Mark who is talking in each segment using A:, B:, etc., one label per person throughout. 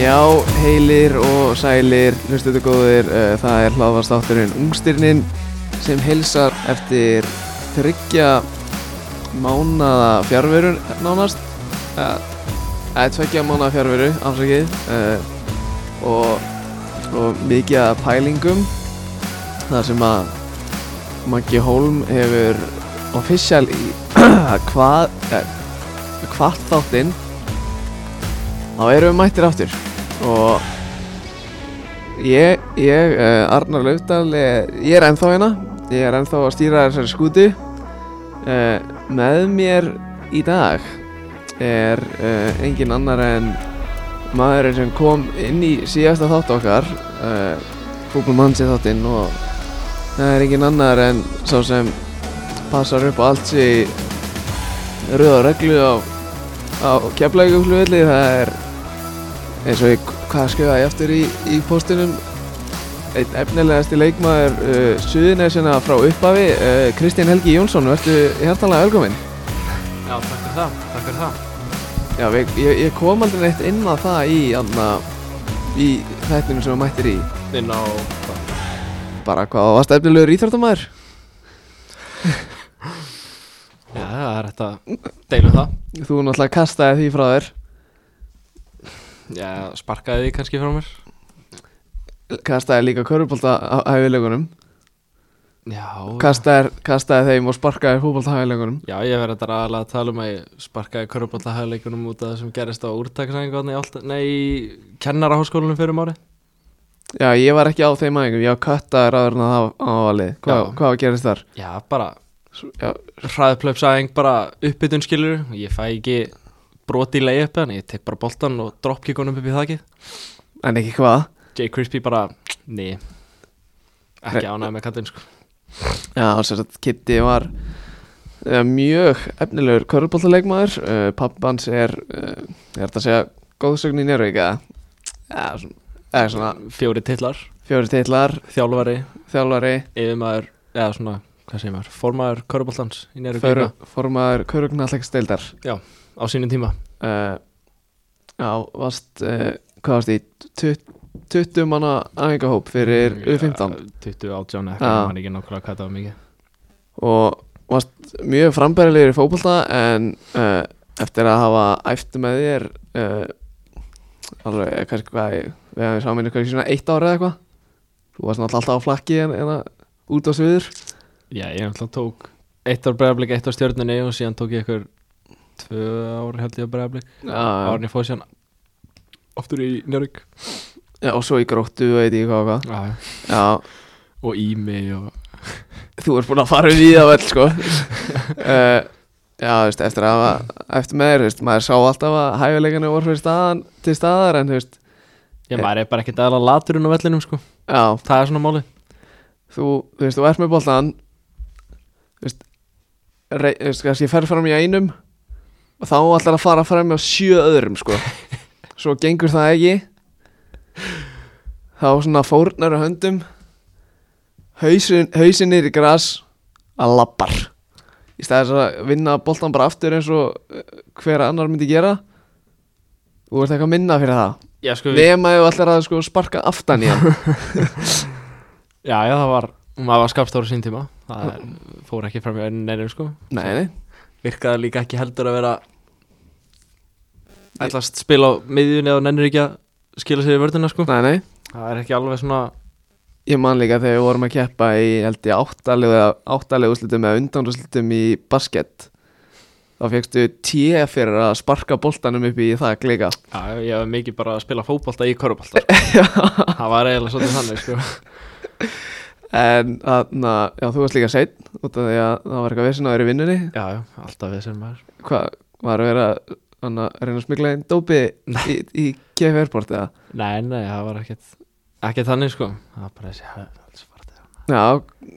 A: Já, heilir og sælir, hlustuðu góðir, eh, það er hlaðvarstátturinn Ungstirnin sem heilsar eftir tryggja mánada fjárveru nánast, Eh, eða tveggja mánada fjárveru, afsakið, eh, og, og mikið að pælingum, þar sem að Maggi Hólm hefur official í hvað, eh, hvað þáttinn, þá erum við mættir aftur og ég, ég uh, Arnar Laufdal ég, ég er ennþá hérna ég er ennþá að stýra þessari skúti uh, með mér í dag er uh, engin annar en maðurinn sem kom inn í síðasta þátt okkar uh, Búblumansi þáttinn og það er engin annar en sá sem passar upp á allt sér rauða reglu á, á keflægjumflugvelli það er eins og ég, hvað skauða ég eftir í, í postunum einn efnilegasti leikmaður uh, suðunesina frá upphafi uh, Kristján Helgi Jónsson, verðu hjartalega velkominn
B: Já, takk fyrir það, takk fyrir það.
A: Já, ég, ég, ég kom aldrei neitt inn á það í, anna, í þættinu sem þú mættir í
B: Inn á,
A: bara hvað þú varst efnilegur íþróttamæður
B: já, það er hægt að deilum það.
A: þú náttúrulega kastaði því frá þér
B: Já, sparkaði því kannski frá mér.
A: kastaði líka körubólta hæfileikunum
B: Já,
A: kastaði, kastaði þeim og sparkaði fútbolta hæfileikunum
B: já, ég verði þetta aðalega að tala um að ég sparkaði köruballahæðleikunum út af það sem gerist á úrtaksæðingarni í, allt- nei, í kennaraháskólanum fyrir um mári.
A: Já, ég var ekki á þeim aðingum, ég var kattaður áður en að það á valið hvað,
B: Já.
A: hvað gerist þar?
B: Já, bara
A: Já,
B: hraðplöpsæðing, bara uppbytun skilur. Ég fæ ekki broti í leiðupi, en ég tek bara boltan og dropkick honum upp í þakið.
A: en ekki hvað
B: Jay Crispy bara, ný, ekki ánægð með kattinn, sko.
A: Já, sem sagt, Kitty var uh, mjög efnilegur körubóltaleikmaður uh, pappans er, uh, ég er þetta að segja góðsögn í Njörvík eða ja, svona, eða svona
B: Fjóri titlar,
A: fjóri titlar,
B: þjálfari,
A: þjálfari
B: yfirmaður, eða svona, hvað segir maður, formaður Köruboltans í næru
A: föru,
B: gríma
A: formaður körugnallegsdeildar
B: á sínum tíma.
A: uh, Já, varst uh, hvað varst í 20 manna æfingahóp fyrir
B: Mm,
A: U15
B: Ja, 20 átján,
A: Já.
B: eitthvað, mann ekki nákvæmlega hvað það var mikið.
A: og varst mjög frambærilegur í fótbolta en uh, eftir að hafa æft með þér uh, alveg, eh, kannski hvað ég- við hefum saman ykkur svona eitt ára eða eitthvað þú varst náttúrulega alltaf á flakki en, en að, út á sviður
B: Já, ég ætla tók eitt ár bregðarblik, eitt ár stjörnunni og síðan tók ég eitthvað tvö ár held ég á bregðarblik.
A: já,
B: Árni fóð síðan oftur í Njörg.
A: já, og svo í gróttu og veit ég hvað og hvað já,
B: Og Ími og...
A: þú ert búin að fara við það vel sko uh, já, þú veist, eftir að hafa eftir með þér, þú veist, maður sá alltaf að hæfileikana voru fyrir staðan, til staðar en þú veist,
B: Ég maður er bara ekkert aðla laturinn á vellinum, sko.
A: já,
B: Það er svona máli.
A: þú, þú veist, þú ert með boltan þú veist rey, þú veist, kannski fer fram í einum og þá ætlar að fara fram á sjö öðrum, sko svo gengur það ekki þá svona fórnar á höndum hausin, hausin niður í gras að lappar í staðis að vinna boltan bara aftur eins og eh, hver annar myndi gera þú ert eitthvað minna fyrir það
B: Já, sko, við...
A: nema ef allir að sko sparka aftan í hann
B: Já, já, það var... Maður var skapstóra sín tíma. Það er, fór ekki fram í neinum, sko.
A: nei, nei,
B: virkaði líka ekki heldur að vera ætlast spila á miðjunni og nennir ekki að skila sér í vörðina sko
A: nei, nei
B: það er ekki alveg svona
A: Ég man líka þegar við vorum að keppa í held ég áttalegu, áttalegu úslitum eða undanúslitum í basket þá fegstu T fyrir að sparka boltanum upp í það líka
B: já, ég hef mikið bara að spila fótbolta í korfbalta sko. það var eiginlega svolítið þannig sko
A: en þarna, já þú varst líka seinn út af því að það var eitthvað vissin að vera í vinnunni
B: já, já, alltaf við sem maður
A: hvað var að vera þarna, að reyna að smigla einn dópi í, í KF Airport eða
B: nei, nei, það var ekkert ekki þannig sko það var bara þessi hæðsvarti
A: já,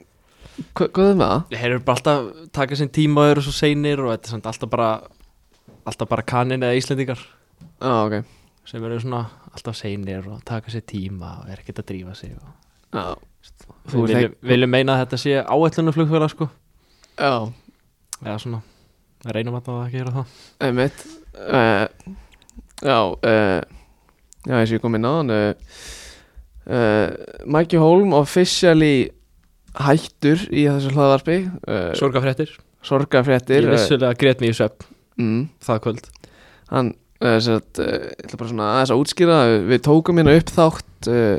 A: hva- hvað er með það?
B: þeir eru bara alltaf taka sinn tíma og eru svo seinir og þetta er samt alltaf bara alltaf bara kanin eða íslendingar
A: Já, ok
B: sem eru svona alltaf seinir og taka sér tíma og er ekkert að drífa sig og
A: já, Þú
B: Við
A: ert
B: viljum, viljum meina að þetta sé áætlunarflugfélag sko
A: já.
B: eða svona, reynum að það ekki gera það
A: Einmitt uh, Já uh, Eh, Já, eins og ég kom inn á hann uh, uh, Mikey Holm officially hættur í þessu hlaðvarpi uh,
B: Sorgafréttir
A: Sorgafréttir
B: Ég vissulega grét mér í svepp
A: uh, mm,
B: það kvöld
A: Hann, uh, sér að uh, ég ætla bara svona aðeins að útskýra Við tókum hérna upp þátt uh,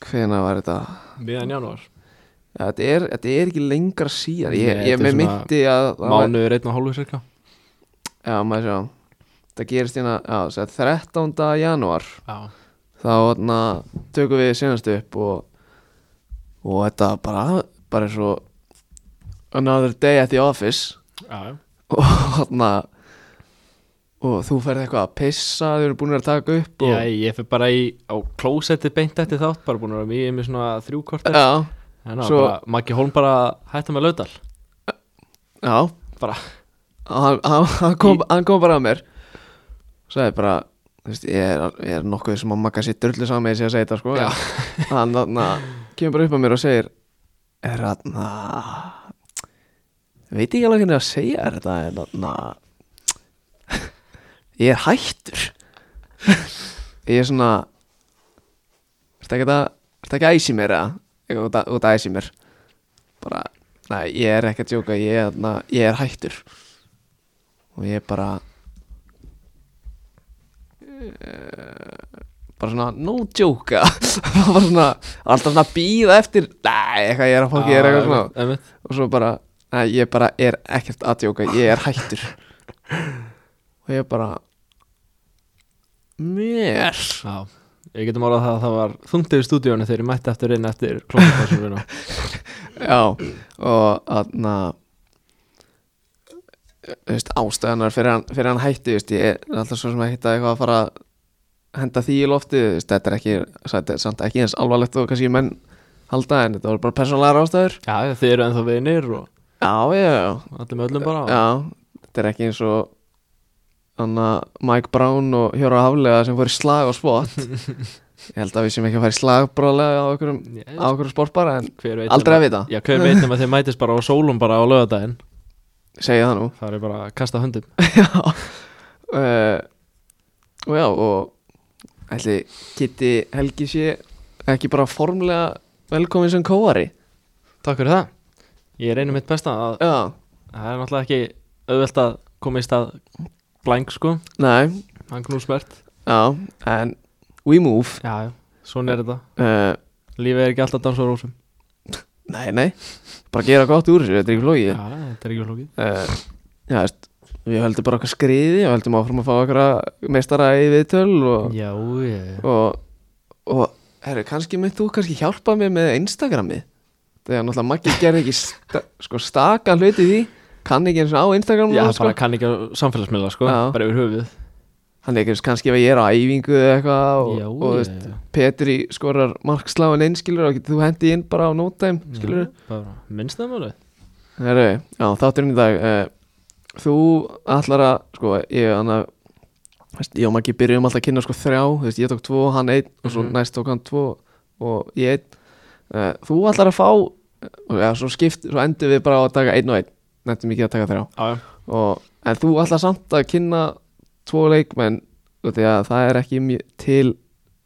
A: Hvena var þetta?
B: Miðan janúar
A: Ja, þetta, er, þetta er ekki lengra síðan Ég,
B: Nei,
A: ég,
B: þetta er
A: ég
B: svona
A: myndi að að-
B: Mánuður einn og hálfu cirka
A: Já, maður sjá Það gerist hérna, já, sem sagt, 13. janúar
B: Já
A: þá na, tökum við senast upp og, og þetta bara bara eins og another day at the office
B: Já
A: og þarna og þú ferð eitthvað að pissa þau eru búin að taka upp og,
B: Já, ég fyrir bara í á klósetti beint eftir þátt bara búin að vera mjög með svona þrjú kortir
A: já,
B: en það
A: svo-
B: var bara Maggi Holm bara hætta með laudal
A: já
B: Bara.
A: hann, hann, hann, kom, hann kom bara að mér og sagði bara þú veist, ég, er, ég er nokkuð sem að makka sér drullu saman með þessi að segja þetta sko en hann þarna kemur bara upp að mér og segir er þarna veit ekki alveg hvernig að segja þér þetta en þarna ég er hættur ég er svona ertu ekki að ertu ekki að æsi mér eða Eitthvað út að- út að æsi mér bara Nei, ég er ekki að djóka, ég, er þarna- ég er hættur Og ég bara Eh, Bara svona, no joke eða? Bara svona, alltaf svona býða eftir Nei, eitthvað, ég er að fókið, ég er eitthvað svona
B: svona
A: Og svo bara, nei, ég bara er ekkert að djóka, ég er hættur Og ég bara Mér
B: Já Ég getum orðað það að það var þungtið í stúdíónu þegar ég mætti eftir inn eftir klósettasumina
A: Já, og þarna þú veist, ástæðanar fyrir hann, fyrir hann hætti, þú veist, ég er alltaf svo sem að hitta eitthvað að fara að henda því í lofti, þú veist, þetta er ekki þetta er samt ekki eins alvarlegt og kannski menn halda en þetta voru bara persónlegar ástæður
B: Já, þið eru ennþá vinir og
A: Já, já, já,
B: allir með öllum bara
A: já þetta er ekki eins og þannig að Mike Brown og Hjóra Haflega sem fór í slag á spott ég held að við sem ekki að fara í slag brálega á okkur,
B: Ég-
A: á okkur sportbara en
B: Hver veit
A: aldrei
B: nema-
A: að vita,
B: Já, hver veit nema þeir mætist bara á sólum bara á lögadaginn
A: segja það nú
B: Það er bara að kasta höndum
A: Já uh, Og já og ætli Kitty Helgi sé ekki bara formlega velkomin sem kóari
B: Takk fyrir það Ég reyni mitt besta að
A: Já,
B: það er náttúrulega ekki auðvelt að koma í stað blank sko
A: nei,
B: Hann knúsmert
A: já en we move
B: Já, já, svona er þetta
A: uh,
B: Lífið er ekki alltaf dans og rósum
A: Nei, nei, bara gera gott úr þessu, þetta er ekki flókið
B: Já, þetta er ekki flókið
A: uh, Já, veist Við höldum bara okkar skriði og höldum áfram að fá okkar meistara í viðtöl og,
B: Já, ég
A: og, og herru, kannski mynd þú kannski hjálpa mér með Instagramið þegar náttúrulega Maggi gerði ekki sta, sko staka hluti í því kann ekki eins og á Instagram
B: Já,
A: núna,
B: bara
A: sko.
B: kann ekki á samfélagsmiðla sko
A: Já.
B: Bara yfir höfuð
A: hann ekki kannski ef ég er á æfingu eða eitthvað og,
B: Já,
A: og þú
B: já,
A: veist,
B: já.
A: Petri skorar marksláin inn skilur og getur þú hendi inn bara á no time skilur
B: Já, Bara, minnst það málið?
A: herru, já þátturinn í dag uh, þú ætlar að sko ég annað veist, ég og Maggi byrjum alltaf að kynna sko þrjá þú veist, ég tók tvo, hann einn og svo
B: Mhm.
A: næst tók hann tvo og ég einn uh, þú ætlar að fá og ja, svo skipt, svo endur við bara á að taka einn og einn nefntum ekki að taka þrjá
B: Já, já
A: og, en þú ætlar samt að kynna tvo leikmenn og því að það er ekki mjö, til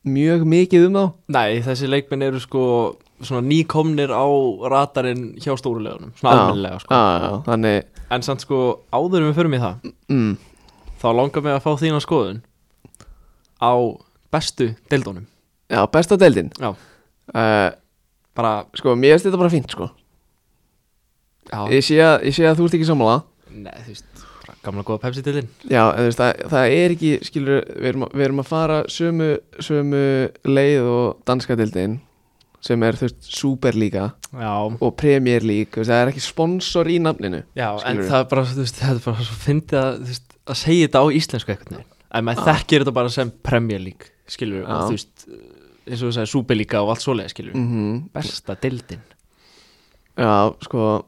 A: mjög mikið um þá
B: Nei, þessi leikminn eru sko svona nýkomnir á radarinn hjá stórulegunum Svona almennilega sko
A: já, já, já, þannig
B: En samt sko, áður en við förum í það
A: mm,
B: Þá langar mig að fá þína skoðun Á bestu deildónum
A: já, besta deildin
B: Já,
A: uh,
B: bara
A: sko, mér finnst þetta bara fínt sko.
B: já,
A: ég, sé að, ég sé að þú ert ekki sammála
B: e- Nei, þú veist, bara gamla góða pepsi deildin
A: Já, en þú veist, það, það er ekki, skilur, við erum, að- við erum að fara sömu, sömu leið og danska dildin sem er, þú veist, Superliga
B: Já,
A: og Premier League, þú veist, það er ekki sponsor í nafninu.
B: já en
A: Skilurðu?
B: það er bara, þú veist, það er bara svo fyndið að, þú veist, að segja þetta á íslensku eitthvað neginn En maður þekkir þetta bara sem Premier League, skilur við,
A: Já.
B: þú veist, eins og þú sagði Súbelíka og allt svoleið, skilur
A: Mm
B: Besta deildin
A: Já, sko,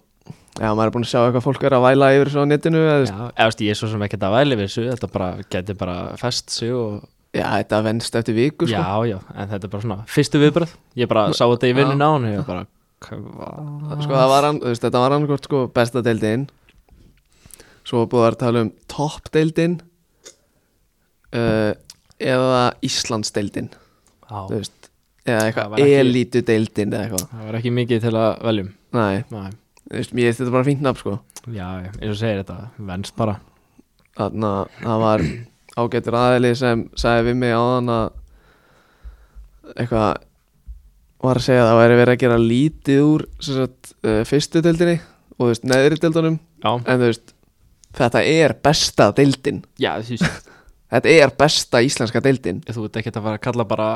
A: já, maður er búin að sjá eitthvað fólk er að væla yfir svo á netinu, eða, þú
B: Já,
A: veist,
B: eða, þú veist, ég er svo sem ekkert að væli við þessu, þetta bara, geti bara fest sig og
A: já, þetta venst eftir viku, sko.
B: Já, já, en þetta er bara svona fyrstu viðbröð Ég bara sá þetta í vinnun á hann og ég bara
A: Sko, það var hann, þú veist, þetta var hann hvort, sko, besta dildin, svo búið að vera að tala um topp dildin, uh, eða Íslandsdeildin þú
B: Já,
A: veist, eða
B: Það
A: eitthvað
B: var ekki-
A: elítudeildin eða eitthvað
B: það var ekki mikið til að veljum
A: Nei,
B: Nei,
A: þú veist, mér finnst þetta bara fínt nafn sko
B: já, já, eins og segir þetta, venst bara
A: Þannig að það var ágættur aðili sem sagði við mig áðan að eitthvað var að segja að það væri verið að gera lítið úr sem sagt, uh, fyrstu deildinni og þú veist, neðri deildunum
B: Já,
A: en þú veist, þetta er besta deildin
B: já þú, veist,
A: þetta er besta íslenska deildin
B: þú ert ekki að fara að kalla bara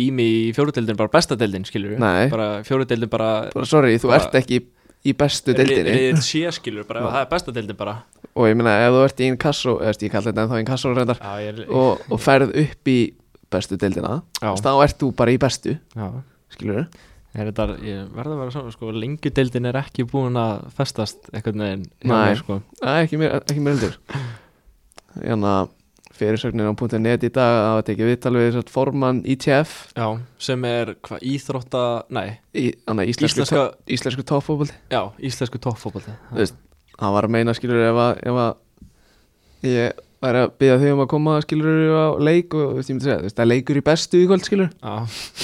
B: Ími í fjóruðdeildin bara besta deildin, skilur
A: Nei.
B: Bara fjóruðdeildin bara
A: bara sorry, þú
B: Bara-
A: ert ekki í bestu deildinni
B: Við sé, skilur, bara það er besta deildin bara
A: og ég meina ef þú ert í inkasso, eða þú veist, ég kalli þetta en þá inkasso reyndar
B: Já, ég er
A: og, og ferð upp í bestu deildina
B: Já.
A: þú veist, þá ert þú bara í bestu
B: Já,
A: skilur
B: er þetta, ég verða að vera svona, sko Lengjudeildin er ekki búin að festast einhvern veginn hjá
A: Nei.
B: mér, sko.
A: Nei, ekki mér, ekki mér heldur Þannig að fyrirsögnin á .net í dag að hafa tekið viðtal við þessart formann ITF
B: Já, sem er hvað íþrótta, nei,
A: í, þannig að íslensku,
B: íslenska,
A: to, íslensku toppfótbolti
B: já, íslensku toppfótbolti
A: Þú veist, hann var að meina skilur ef að, ef að ég væri að byggja þau um að koma skilur á leik og þú veist, ég myndi segja, þú veist, það er leikur í bestu í kvöld skilur,
B: Já,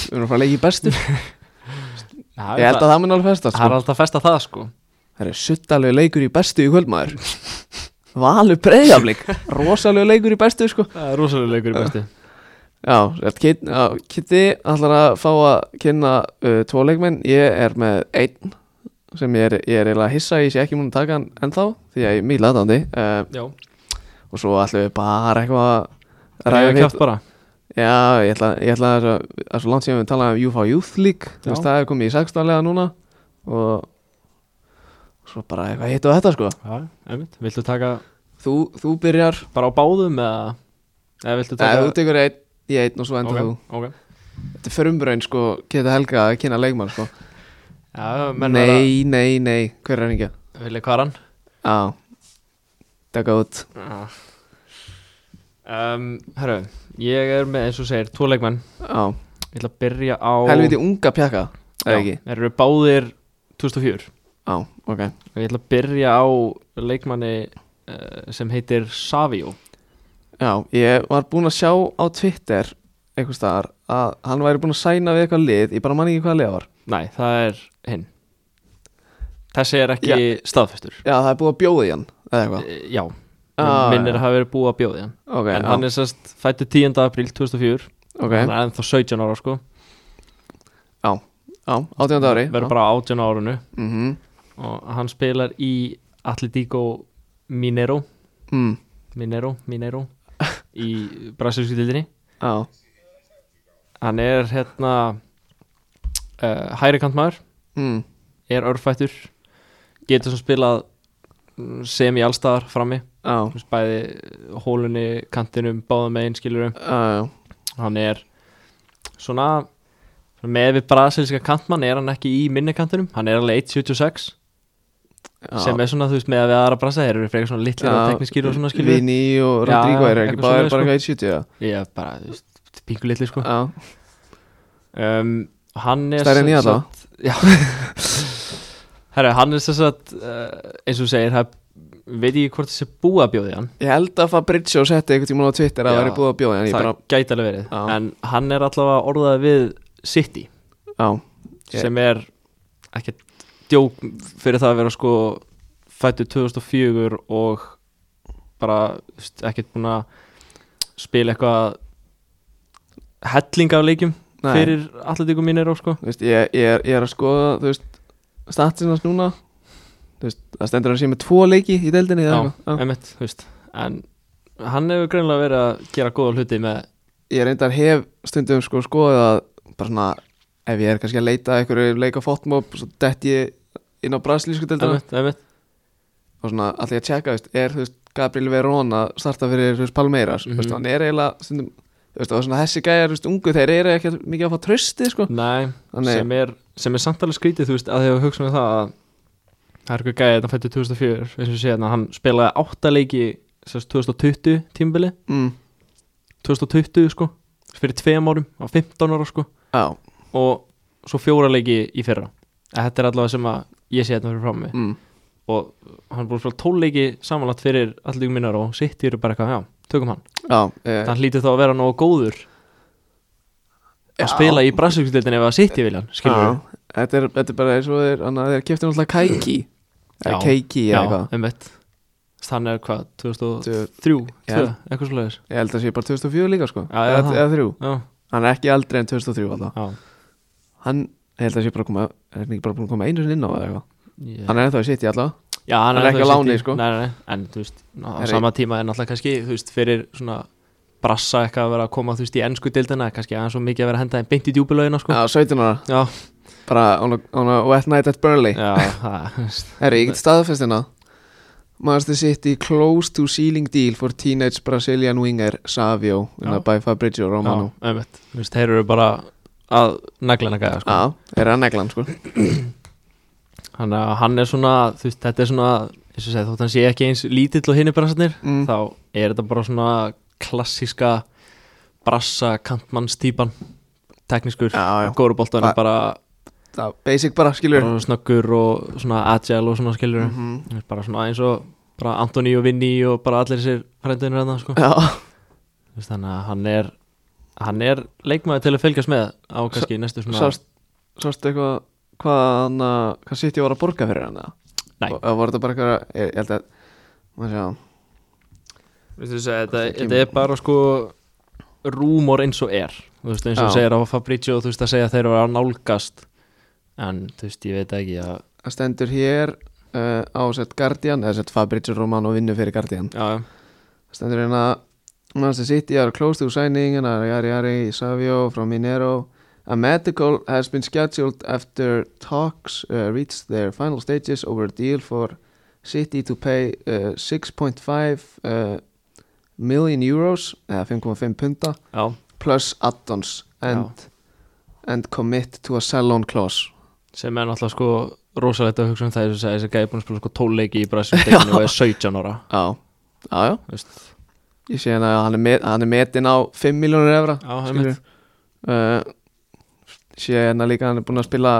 A: við erum að fara að leik í bestu
B: það
A: Ég held að það mun alveg festa
B: Það er
A: sko.
B: alltaf að festa það, sko
A: Það er suttalegu leikur í bestu í kvöld maður Valur breyðaflik Rosalegu leikur í bestu sko
B: Það er rosalega leikur í bestu
A: Já, sért kyn- já, Kitty ætlar að fá að kynna uh, tvo leikmenn, ég er með einn sem ég er, ég er eiginlega hissa að ég sé ekki múin að taka hann ennþá því að ég er mjög latandi uh,
B: Já,
A: og svo ætlum við bara eitthvað að
B: ræða
A: ræða hitt
B: kjátt bara
A: Já, ég ætla, ég ætla að, svo- að svo langt séum við tala um UFA Youth League
B: Já.
A: þú veist, það er komið í 16 lega núna og svo bara eitthvað hitt og þetta sko
B: Já, einmitt, viltu taka
A: Þú, þú byrjar,
B: bara á báðum eða eða viltu
A: eða
B: taka
A: þú tekur einn, ég einn og svo enda
B: Ok, ok.
A: þú Þetta er förumbraun sko, geta helga að kynna leikmann sko
B: Já, menn var að
A: Nei, nei, nei, hver er hengja?
B: vilja kvaran
A: Á, taka út
B: um, Herru, ég er með eins og segir tvo leikmenn,
A: Á,
B: ég ætla að byrja á
A: helviti unga pjaka,
B: Já,
A: eða ekki?
B: þeir eru báðir 2004
A: Á, ok
B: og ég ætla að byrja á leikmanni uh, sem heitir Savio
A: Já, ég var búinn að sjá á Twitter einhvers staðar að hann væri búinn að sæna við eitthvað lið, ég bara man ekki hvað lið það var
B: Nei, það er hinn Þessi er ekki staðfestur
A: Já, það er búið að bjóða í hann, eða eitthvað
B: Eh, Já,
A: Ah,
B: minnir
A: já.
B: að hafa verið búið að bjóði hann
A: Ok,
B: En hann er sérst fættu 10. apríl 2004
A: ok,
B: Hann er ennþá 17 ára sko
A: á, á, 18. ári
B: Verður bara á 18 árunu
A: mm -hmm.
B: Og hann spilar í Atletico Mineiro
A: mm,
B: Mineiro, Mineiro Í brasilísku dildinni
A: Á,
B: Hann er hérna uh, Hæri kantmaður
A: mm,
B: Er örfættur Getur sem spilað mm, sem í allstaðar frammi
A: á,
B: Þú veist, Bæði hólunni, kantinum, báðum megin skilurum
A: á, já,
B: hann er svona með við brasilíska kantmann er hann ekki í minni kantinum hann er alveg 1.76
A: á
B: sem er svona þú veist með að við aðra brasa þeir eru frekar svona litlir og tekniskir og svona skilur
A: Vini og
B: Já,
A: Rodrigo
B: já,
A: er ekki
B: eitthvað
A: bara,
B: svoleiðis,
A: bara
B: sko.
A: eitthvað 170 eða?
B: ég er bara þú veist pingu litli sko
A: Á,
B: um, hann er
A: Stærri en ég
B: sem sagt- já herru hann er þess að eins og þú segir það veit ég hvort þessi búa bjóði hann
A: Ég held að Fabrizio setti einhvern tímann á Twitter að
B: Já.
A: það væri búið að bjóða en ég
B: það
A: bara,
B: gæti alveg verið
A: Já.
B: en hann er allavega orðað við City
A: á, Ég-
B: sem er ekki djók fyrir það að vera sko fættu 2004 og bara ekki búin að spila eitthvað helling af leikjum
A: nei,
B: fyrir allatíku mínir sko.
A: þú veist, ég, ég, er, ég er að skoða, þú veist, statinast núna, þú veist, það stendur hann sé með tvo leiki í deildinni eða
B: Já,
A: eitthvað, já.
B: einmitt, þú veist en hann hefur greinlega verið að gera góða hluti með
A: Ég reyndar hef stundum sko skoðið að, bara svona, ef ég er kannski að leita að einhverju leika fótmob, svo dett ég inn á brasilísku deildina
B: einmitt, einmitt.
A: og svona, allir að tjekka, þú veist, er, þú veist, Gabriel Verón að starta fyrir, þú veist, Palmeiras,
B: Mhm.
A: þú veist, hann er eiginlega, stundum, þú veist, og svona, þessi gæjar, þú veist, ungu, þeir eru ekki mikið að fá trösti, sko,
B: Nei,
A: Þannig-
B: sem er, sem er samtalið skrítið þú veist að því að hugsa með um það að það er eitthvað gæðið þetta fættu 2004 eins og ég sé hérna, hann spilaði áttaleiki sérst 2020 tímbili
A: mm,
B: 2020 sko fyrir tveim árum, á 15 ára sko
A: á,
B: og svo fjóra leiki í fyrra að þetta er allavega sem að ég sé hérna fyrir fram mig
A: mm,
B: og hann er búin að spila 12 leiki samanlagt fyrir allir minnar og sitt eru bara eitthvað, já, tökum hann
A: Já, eh,
B: hann hlýtur þá að vera nógu góður að
A: Já.
B: spila í brasilíkustildin ef að sitt í viljan skilur
A: já. þetta, er, þetta er bara eins og þeir Þannig að þeir kefti náttúrulega Kaiki Eða
B: Já.
A: Keiki
B: já,
A: eða eitthvað
B: einmitt hann er hvað, 2003
A: Tvö-
B: 2,
A: Já.
B: eitthvað svo leiðis
A: Ég held að sé bara 2004 líka sko
B: Já,
A: eða,
B: eða það.
A: eða þrjú
B: já,
A: Hann er ekki eldri en 2003 alltaf
B: já
A: Hann ég held að sé bara að koma Er hann ekki bara búin að koma einu sinni inn á það eitthvað
B: Ég-
A: Hann er ennþá í sitt í alltaf
B: já, hann,
A: hann er ekki
B: ennþá
A: á
B: í
A: láni,
B: City.
A: sko.
B: nei, nei, nei. en þú veist, á
A: Er-
B: sama tíma er náttúrulega kannski þú veist, fyrir svona brassa eitthvað að vera að koma þú veist í ennsku dildina kannski aðeins svo mikið að vera að henda þeim beint í djúbulögina sko.
A: Já, 17 ára
B: já,
A: Bara on a, on a wet night at Burnley
B: já, það, þú veist,
A: Herri, ég get staðfestina Manchester City close to ceiling deal for teenage Brazilian winger Savio
B: Já.
A: ja. by Fabrizio Romano
B: já, einmitt þú veist, þeir eru bara að naglina gæða sko.
A: Já, er að neglan sko
B: Þannig að hann er svona, þú veist, þetta er svona, eins og segja, þótt hann sé ekki eins lítill og hinni bransarnir,
A: mm.
B: þá er þetta bara svona klassíska brassa kantmannstýpan, teknískur,
A: Já, já.
B: góruboltan
A: Þa-
B: er bara,
A: Það, basic bara, skilur
B: bara snöggur og svona agile og svona skilur, mm
A: Mhm.
B: -hmm. bara svona eins og bara Antoni og Vinni og bara allir þessir frændunir hérna, sko.
A: Já,
B: Þú veist, Þannig að hann er, hann er leikmaður til að fylgjast með á kannski næstu svona,
A: sást, sást eitthvað hvað hann að, hvað City var að borga fyrir hann eða?
B: Nei.
A: Og- eða voru þetta bara eitthvað, ég, ég held að maður sjá,
B: Veistu þess að þetta,
A: Ekki-
B: þetta er bara sko rúmor eins og er Þú veist, eins og
A: Já.
B: segir á Fabrizio þú veist að segja að þeir eru að nálgast en þú veist ég veit ekki að
A: það stendur hér uh, á sett Guardian, eða sett Fabrizio Romano vinnu fyrir Guardian
B: já,
A: stendur hérna Manchester City are close to signing and are yari yari Savio from Minero a medical has been scheduled after talks uh, reached their final stages over a deal for City to pay uh, 6.5 uh, million euros eða 5,5 punta
B: já,
A: plus add-ons and, and commit to a sell-on clause
B: sem er náttúrulega sko rosalegt að hugsa um það eins og segja þessi gæði búin að spila sko 12 leiki í Brasilíu og er 17 ára
A: Já, já, já
B: þú veist,
A: Ég sé hérna að hann er, met, hann er metin á 5 miljónur evra
B: Já,
A: skilurðu. uh, Sé hérna líka að hann er búinn að spila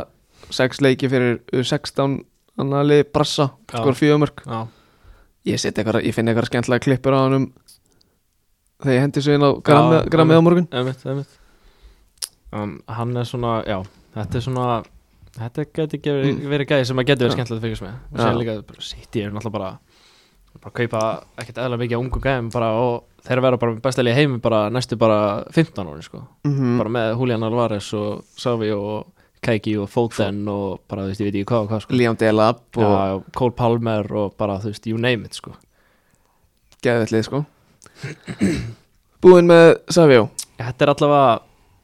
A: 6 leiki fyrir eh, 16 annarli brassa,
B: Já.
A: skor fjögumörk
B: já,
A: Ég, set eitthvað, ég finn eitthvað skemmtilega klippur á hann um þegar ég hendi svo inn á
B: Já,
A: grammið- grammið á morgun
B: einmitt, einmitt um, hann er svona, já, þetta er svona þetta geti gefið, verið gæði sem að geti verið
A: Mm. Já.
B: skemmtilegt að fylgjast með og
A: Já.
B: sér líka City er náttúrulega bara bara kaupa ekkert eðla mikið á ungu gæðum bara og þeir verða bara besta liði heimi bara næstu bara 15 ári sko
A: mm
B: bara með Julian Alvarez og Savi og Keiki og Foden og bara þú veist ég veit ekki hvað og hvað sko
A: Líam Delap
B: Já,
A: og ja.
B: og Cole Palmer og bara þú veist you name it sko
A: geðvellið sko Búinn með Savjó
B: Þetta er allavega,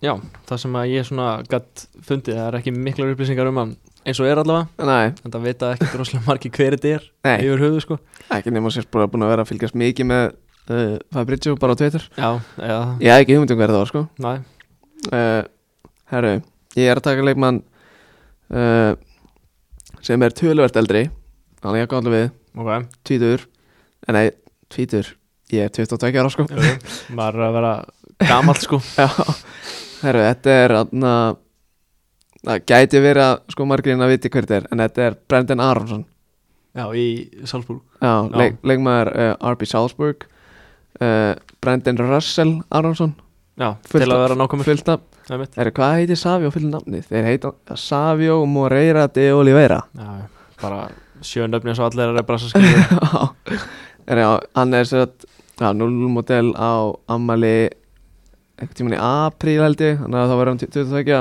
B: já, það sem að ég svona gætt fundið, það er ekki miklar upplýsingar um hann eins og er allavega,
A: Nei,
B: en það vita ekki droslega margir hver þetta er
A: nei,
B: yfir höfuð sko
A: ekki nema sér bara búin að vera að fylgjast mikið með uh, Fabrizio bara á Twitter
B: Já, eða,
A: Ég hef ekki hugmynd um hverða var sko
B: næ,
A: uh, Herru, ég er að taka leikmann uh, sem er töluvert eldri hann er ekki allir við,
B: ok
A: tvítur en nei, tvítur, ég er 22 ára sko
B: Jú, jú. maður er að vera gamall sko
A: Já, herru, þetta er hann það gæti verið að sko margirinn að viti hver þetta er en þetta er Brendan Aronsson
B: Já, í Salzburg
A: Já,
B: Já.
A: Leik, leikmaður uh, RB Salzburg uh, Brendan Russell Aronsson
B: Já,
A: Fullt
B: til að
A: af-
B: vera nákvæmur
A: fullt af,
B: Það er mitt
A: herru, hvað heitir Savio fyrir nafnið? Þeir heita Savio Moreira de Oliveira
B: Já, já, bara sjönöfni eins og allir er að brasa skilur
A: Já, er, já, hann er sér að 0 model á ammali einhvern tímann í apríl held ég þannig að þá verður hann 22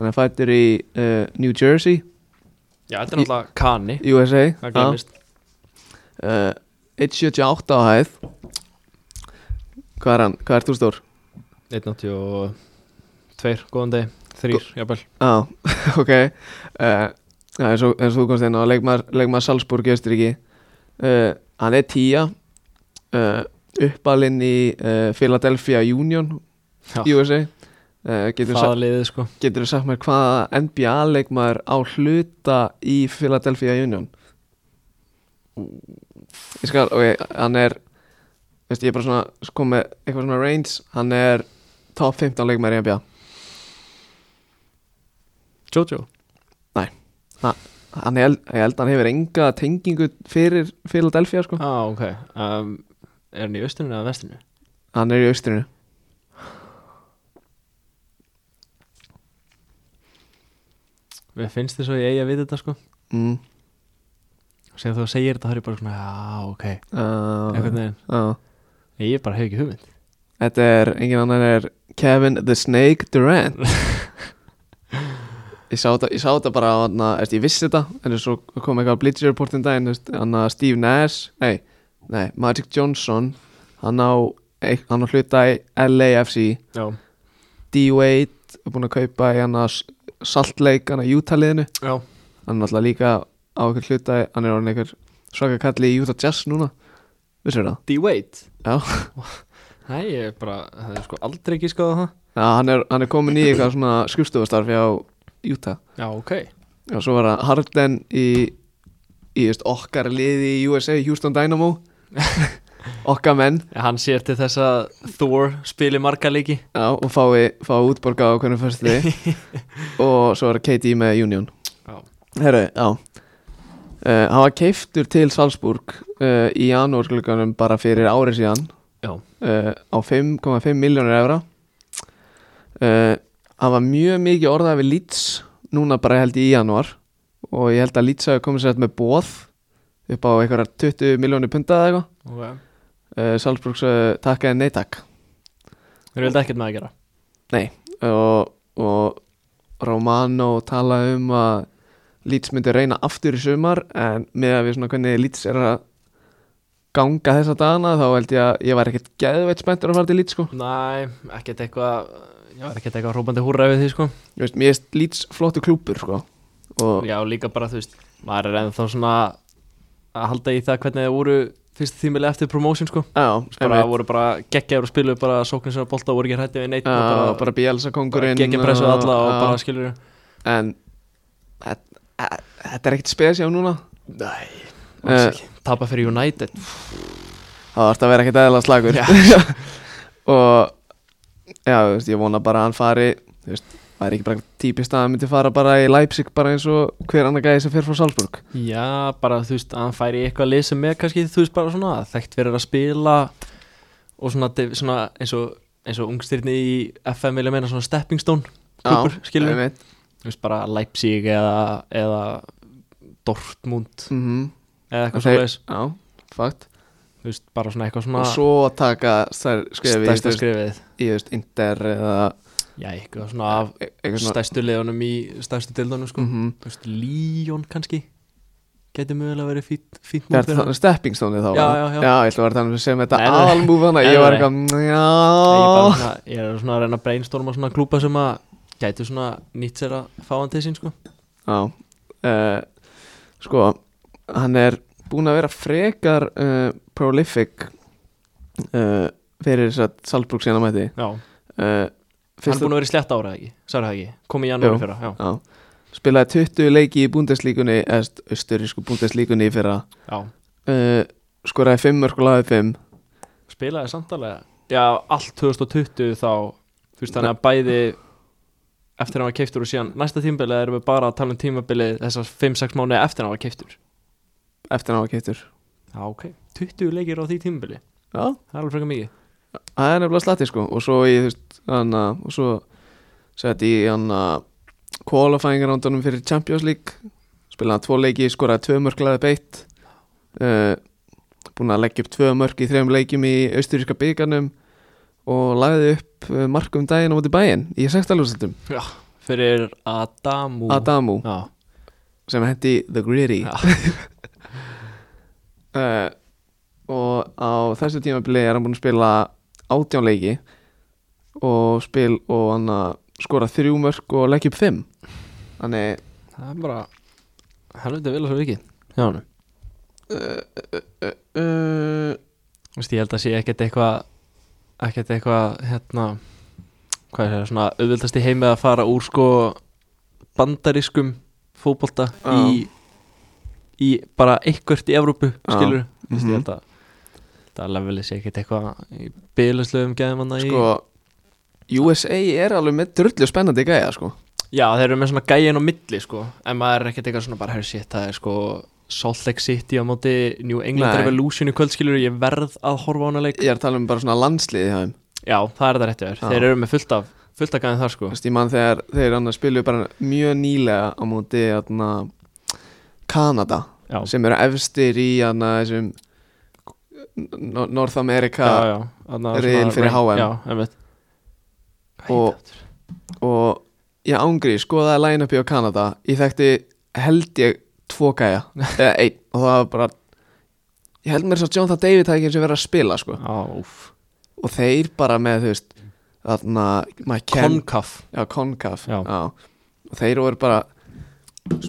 A: hann er fættur í uh, New Jersey,
B: Já, þetta er náttúrulega kanni
A: USA
B: Það
A: Já.
B: glemist
A: uh, 178 á hæð hvað er hann, hvað er þú stór?
B: 182, góðan deg, þrýr, jafnvel
A: Já, ok uh, já, eins, og, eins og þú komst inn á leikmaður, leikmaður Salzburg í Östuríki uh, hann er tíja uh, uppalinn í uh, Philadelphia Union
B: Já.
A: USA uh, getur,
B: Það
A: sa
B: liðið sko
A: getur sagt mér hvaða NBA leikmaður á hluta í Philadelphia Union ég skal, ok, hann er veist, ég er bara svona kom með eitthvað svona range, hann er top 15 leikmaður í NBA
B: Jojo
A: hann held, ég held að hann hefur enga
B: Ah,
A: tengingu fyrir Philadelphia sko
B: Á, ok um, Er hann í austinu eða vestinu?
A: Hann er í austrinu
B: Mér finnst þess að ég eigi að vita þetta sko
A: mm.
B: og segja þú að segja þetta þá er ég bara svona já ok
A: uh,
B: einhvern veginn
A: uh.
B: ég bara hef ekki hugmynd
A: Þetta er, engin annar er Kevin the Snake Durant Ég sá þetta, ég sá þetta bara anna, eftir, ég vissi þetta, en svo kom eitthvað Bleacher Report um daginn, hann að Steve Nash nei, nei, Magic Johnson hann á, eik- hann á hluta í LAFC,
B: já,
A: D-Wade er búin að kaupa í hann að Salt Lake, hann að Utah-liðinu
B: já.
A: hann er alltaf líka á einhver hluta hann er orðin einhver svaka kalli í Utah Jazz núna, vissir það?
B: D-Wade
A: Já.
B: Nei, ég er bara, það er sko aldrei ekki skoða það
A: Já, hann er, hann er komin í eitthvað svona skrifstofastarfi á Utah
B: Já, ok
A: og svo var það Harden í, í just, okkar liði í USA, Houston Dynamo okkar menn
B: Hann sér til þess að Thor spili marga leiki
A: já, og fái, fái útborga á hvernig fyrstu og svo var það KD með Union
B: Já.
A: Herru, já uh, hann var keiftur til Salzburg uh, í janúarglöganum bara fyrir árið síðan
B: Já.
A: Eh, á 5,5 miljónir evra uh, hann var mjög mikið orðað við Leeds núna bara held ég í janúar og ég held að Leeds hafi komið sér með bóð upp á einhverjar 20 miljónir punta eða eitthvað
B: okay.
A: uh, Salzburgs uh, takkaði nei takk
B: Þeir vildi ekkert með að gera
A: og, og Romano talaði um að Leeds myndi reyna aftur í sumar en með að við svona hvernig Leeds er að ganga þessa dagana þá held ég að ég var ekkert geðveitt spenntur að fara til Leeds sko
B: Næ, ekkert eitthvað Já, ekkert eitthvað hrópandi húrra við því sko
A: Ég veist, mér erst Leeds flottu klúpur sko og
B: Já, líka bara, þú veist, maður er ennþá svona að halda í það hvernig þeir voru fyrst tímili eftir promotion sko
A: Já,
B: bara
A: einmitt.
B: voru bara geggjaður og spiluðu bara sóknir sem að bolta og voru ekki hrætti við neitt
A: Já,
B: og
A: bara,
B: bara,
A: Bielsa
B: bara
A: kongurinn
B: geggja pressuð alla
A: já,
B: og
A: Eh,
B: bara skilur
A: En þetta- Þetta er ekkert spes hjá núna
B: Nei,
A: alls
B: uh, tapa fyrir United
A: Það þarf að vera ekkert eðalega slagur Og Já, þú veist, ég vona bara að hann fari Þú veist, það er ekki bara típist að hann myndi fara bara í Leipzig bara eins og hver annar gæði sem fyrir frá Salzburg
B: Já, bara þú veist, að hann færi í eitthvað lið sem er kannski, þú veist, bara svona þekkt verið að spila og svona, de- svona eins og, eins og ungstyrni í FM vilja meina svona stepping stone klubur, skilur við,
A: einmitt.
B: þú veist, bara Leipzig eða, eða Dortmund
A: Mhm.
B: eða eitthvað
A: Þeir-
B: svona
A: Já, fakt
B: þú veist, bara svona eitthvað
A: Og
B: svona
A: svo taka stær, skrifi í, þú
B: stærsta
A: veist, í,
B: skrifið
A: þú veist, Inter eða
B: Já, eitthvað svona af
A: e- eitthvað svona
B: stærstu liðunum í stærstu dildunum, sko
A: Mhm.
B: Þú veist, Líón kannski geti mögulega verið fínt, fínt
A: Það
B: mót
A: er
B: fyrir hann.
A: þannig stepping stone þá eða?
B: Já, já, já.
A: Já, ég ætla að vera þannig sem þetta
B: Nei, nei.
A: aðalmúf þannig að
B: Nei,
A: Ég var
B: nei.
A: eitthvað,
B: Nei, ég,
A: já
B: bara svona, ég er svona að reyna að brainstorma svona klúpa sem að gætu svona nýtt sér að fá hann til sín sko
A: Já, uh, sko, hann er búinn að vera frekar uh, prolific uh, fyrir þess að Salzburg sína mæti
B: Já,
A: uh,
B: hann er
A: fyrsta,
B: búin að vera í slett ára ekki, sagði það ekki, kom í janúri
A: Jú.
B: fyrra Já,
A: já, spilaði 20 leiki í búndeslíkunni, eðst austurísku búndeslíkunni í fyrra
B: já,
A: uh, skoraði 5 mörg og lagði 5
B: spilaði samtalega Já, allt 2020 þá, þú veist þannig að bæði eftir að hann var keiftur og síðan næsta tímabilið erum við bara að tala um tímabilið þessar 5-6 mánuði eftir að hann var keiftur
A: eftir hann var keittur
B: Já, ok, 20 leikir á því tímabili,
A: Já,
B: það er alveg frekar mikið
A: það er nefnilega slatti sko og svo í þú veist hann að og svo sett í hann að qualifying roundunum fyrir Champions League spilaði hann tvo leiki, skoraði tvö mörk laði beitt uh, búin að leggja upp tvö mörk í þrejum leikjum í austuríska byggarnum og lagði upp eh, mark um daginn á móti bæinn í sextalúrsildum
B: Fyrir Adamu
A: Adamu
B: Já,
A: sem hendi The Greedy
B: Já.
A: uh, og á þessu tímabili er hann búinn að spila átján leiki og spil og hann að skora þrjú mörk og leggja upp fimm þannig
B: það er bara helviti vel að svo vikið Já, hann
A: uh,
B: Þú veist, ég held að sé ekkert eitthvað ekkert eitthvað, hérna hvað er það, svona auðvöldast í heimi að fara úr sko bandarískum fótbolta
A: Já.
B: í, í bara eitthvert í Evrópu,
A: Já.
B: skilur þú veist,
A: Mhm.
B: ég held að það levelið sé ekkert eitthvað í byggðlaslöfum geðum hann
A: sko USA er alveg með drullu spennandi gæja sko
B: í já, þeir eru með svona gæin á milli, sko en maður er ekkert eitthvað svona bara, herr shit, það er sko Salt Lake City á móti New England
A: Nei.
B: Revolution í kvöldskilur ég verð að horfa á hana leik
A: Ég er að tala um bara svona landsliði hjá þeim
B: já, það er þetta rétt hjá þér,
A: Já.
B: þeir eru með fullt af fullt af gæðin þar sko
A: Þú veist, ég mann þegar þeir annars spiluðu bara mjög nýlega á móti atna, Kanada
B: já,
A: sem eru efstir í atna, þessum N- North America
B: já, já, þarna
A: Riðil
B: svona
A: fyrir
B: rank-
A: HM.
B: já, einmitt
A: Og- og ég ángri skoðaði line-upi á Kanada ég þekkti held ég tvo gæja eða einn og það var bara ég held mér svo að Jonathan David hafi ekki eins og verið að spila sko.
B: Áf,
A: og þeir bara með þú veist þarna my Ken-
B: Concaf
A: já, Concaf
B: Já.
A: og þeir voru bara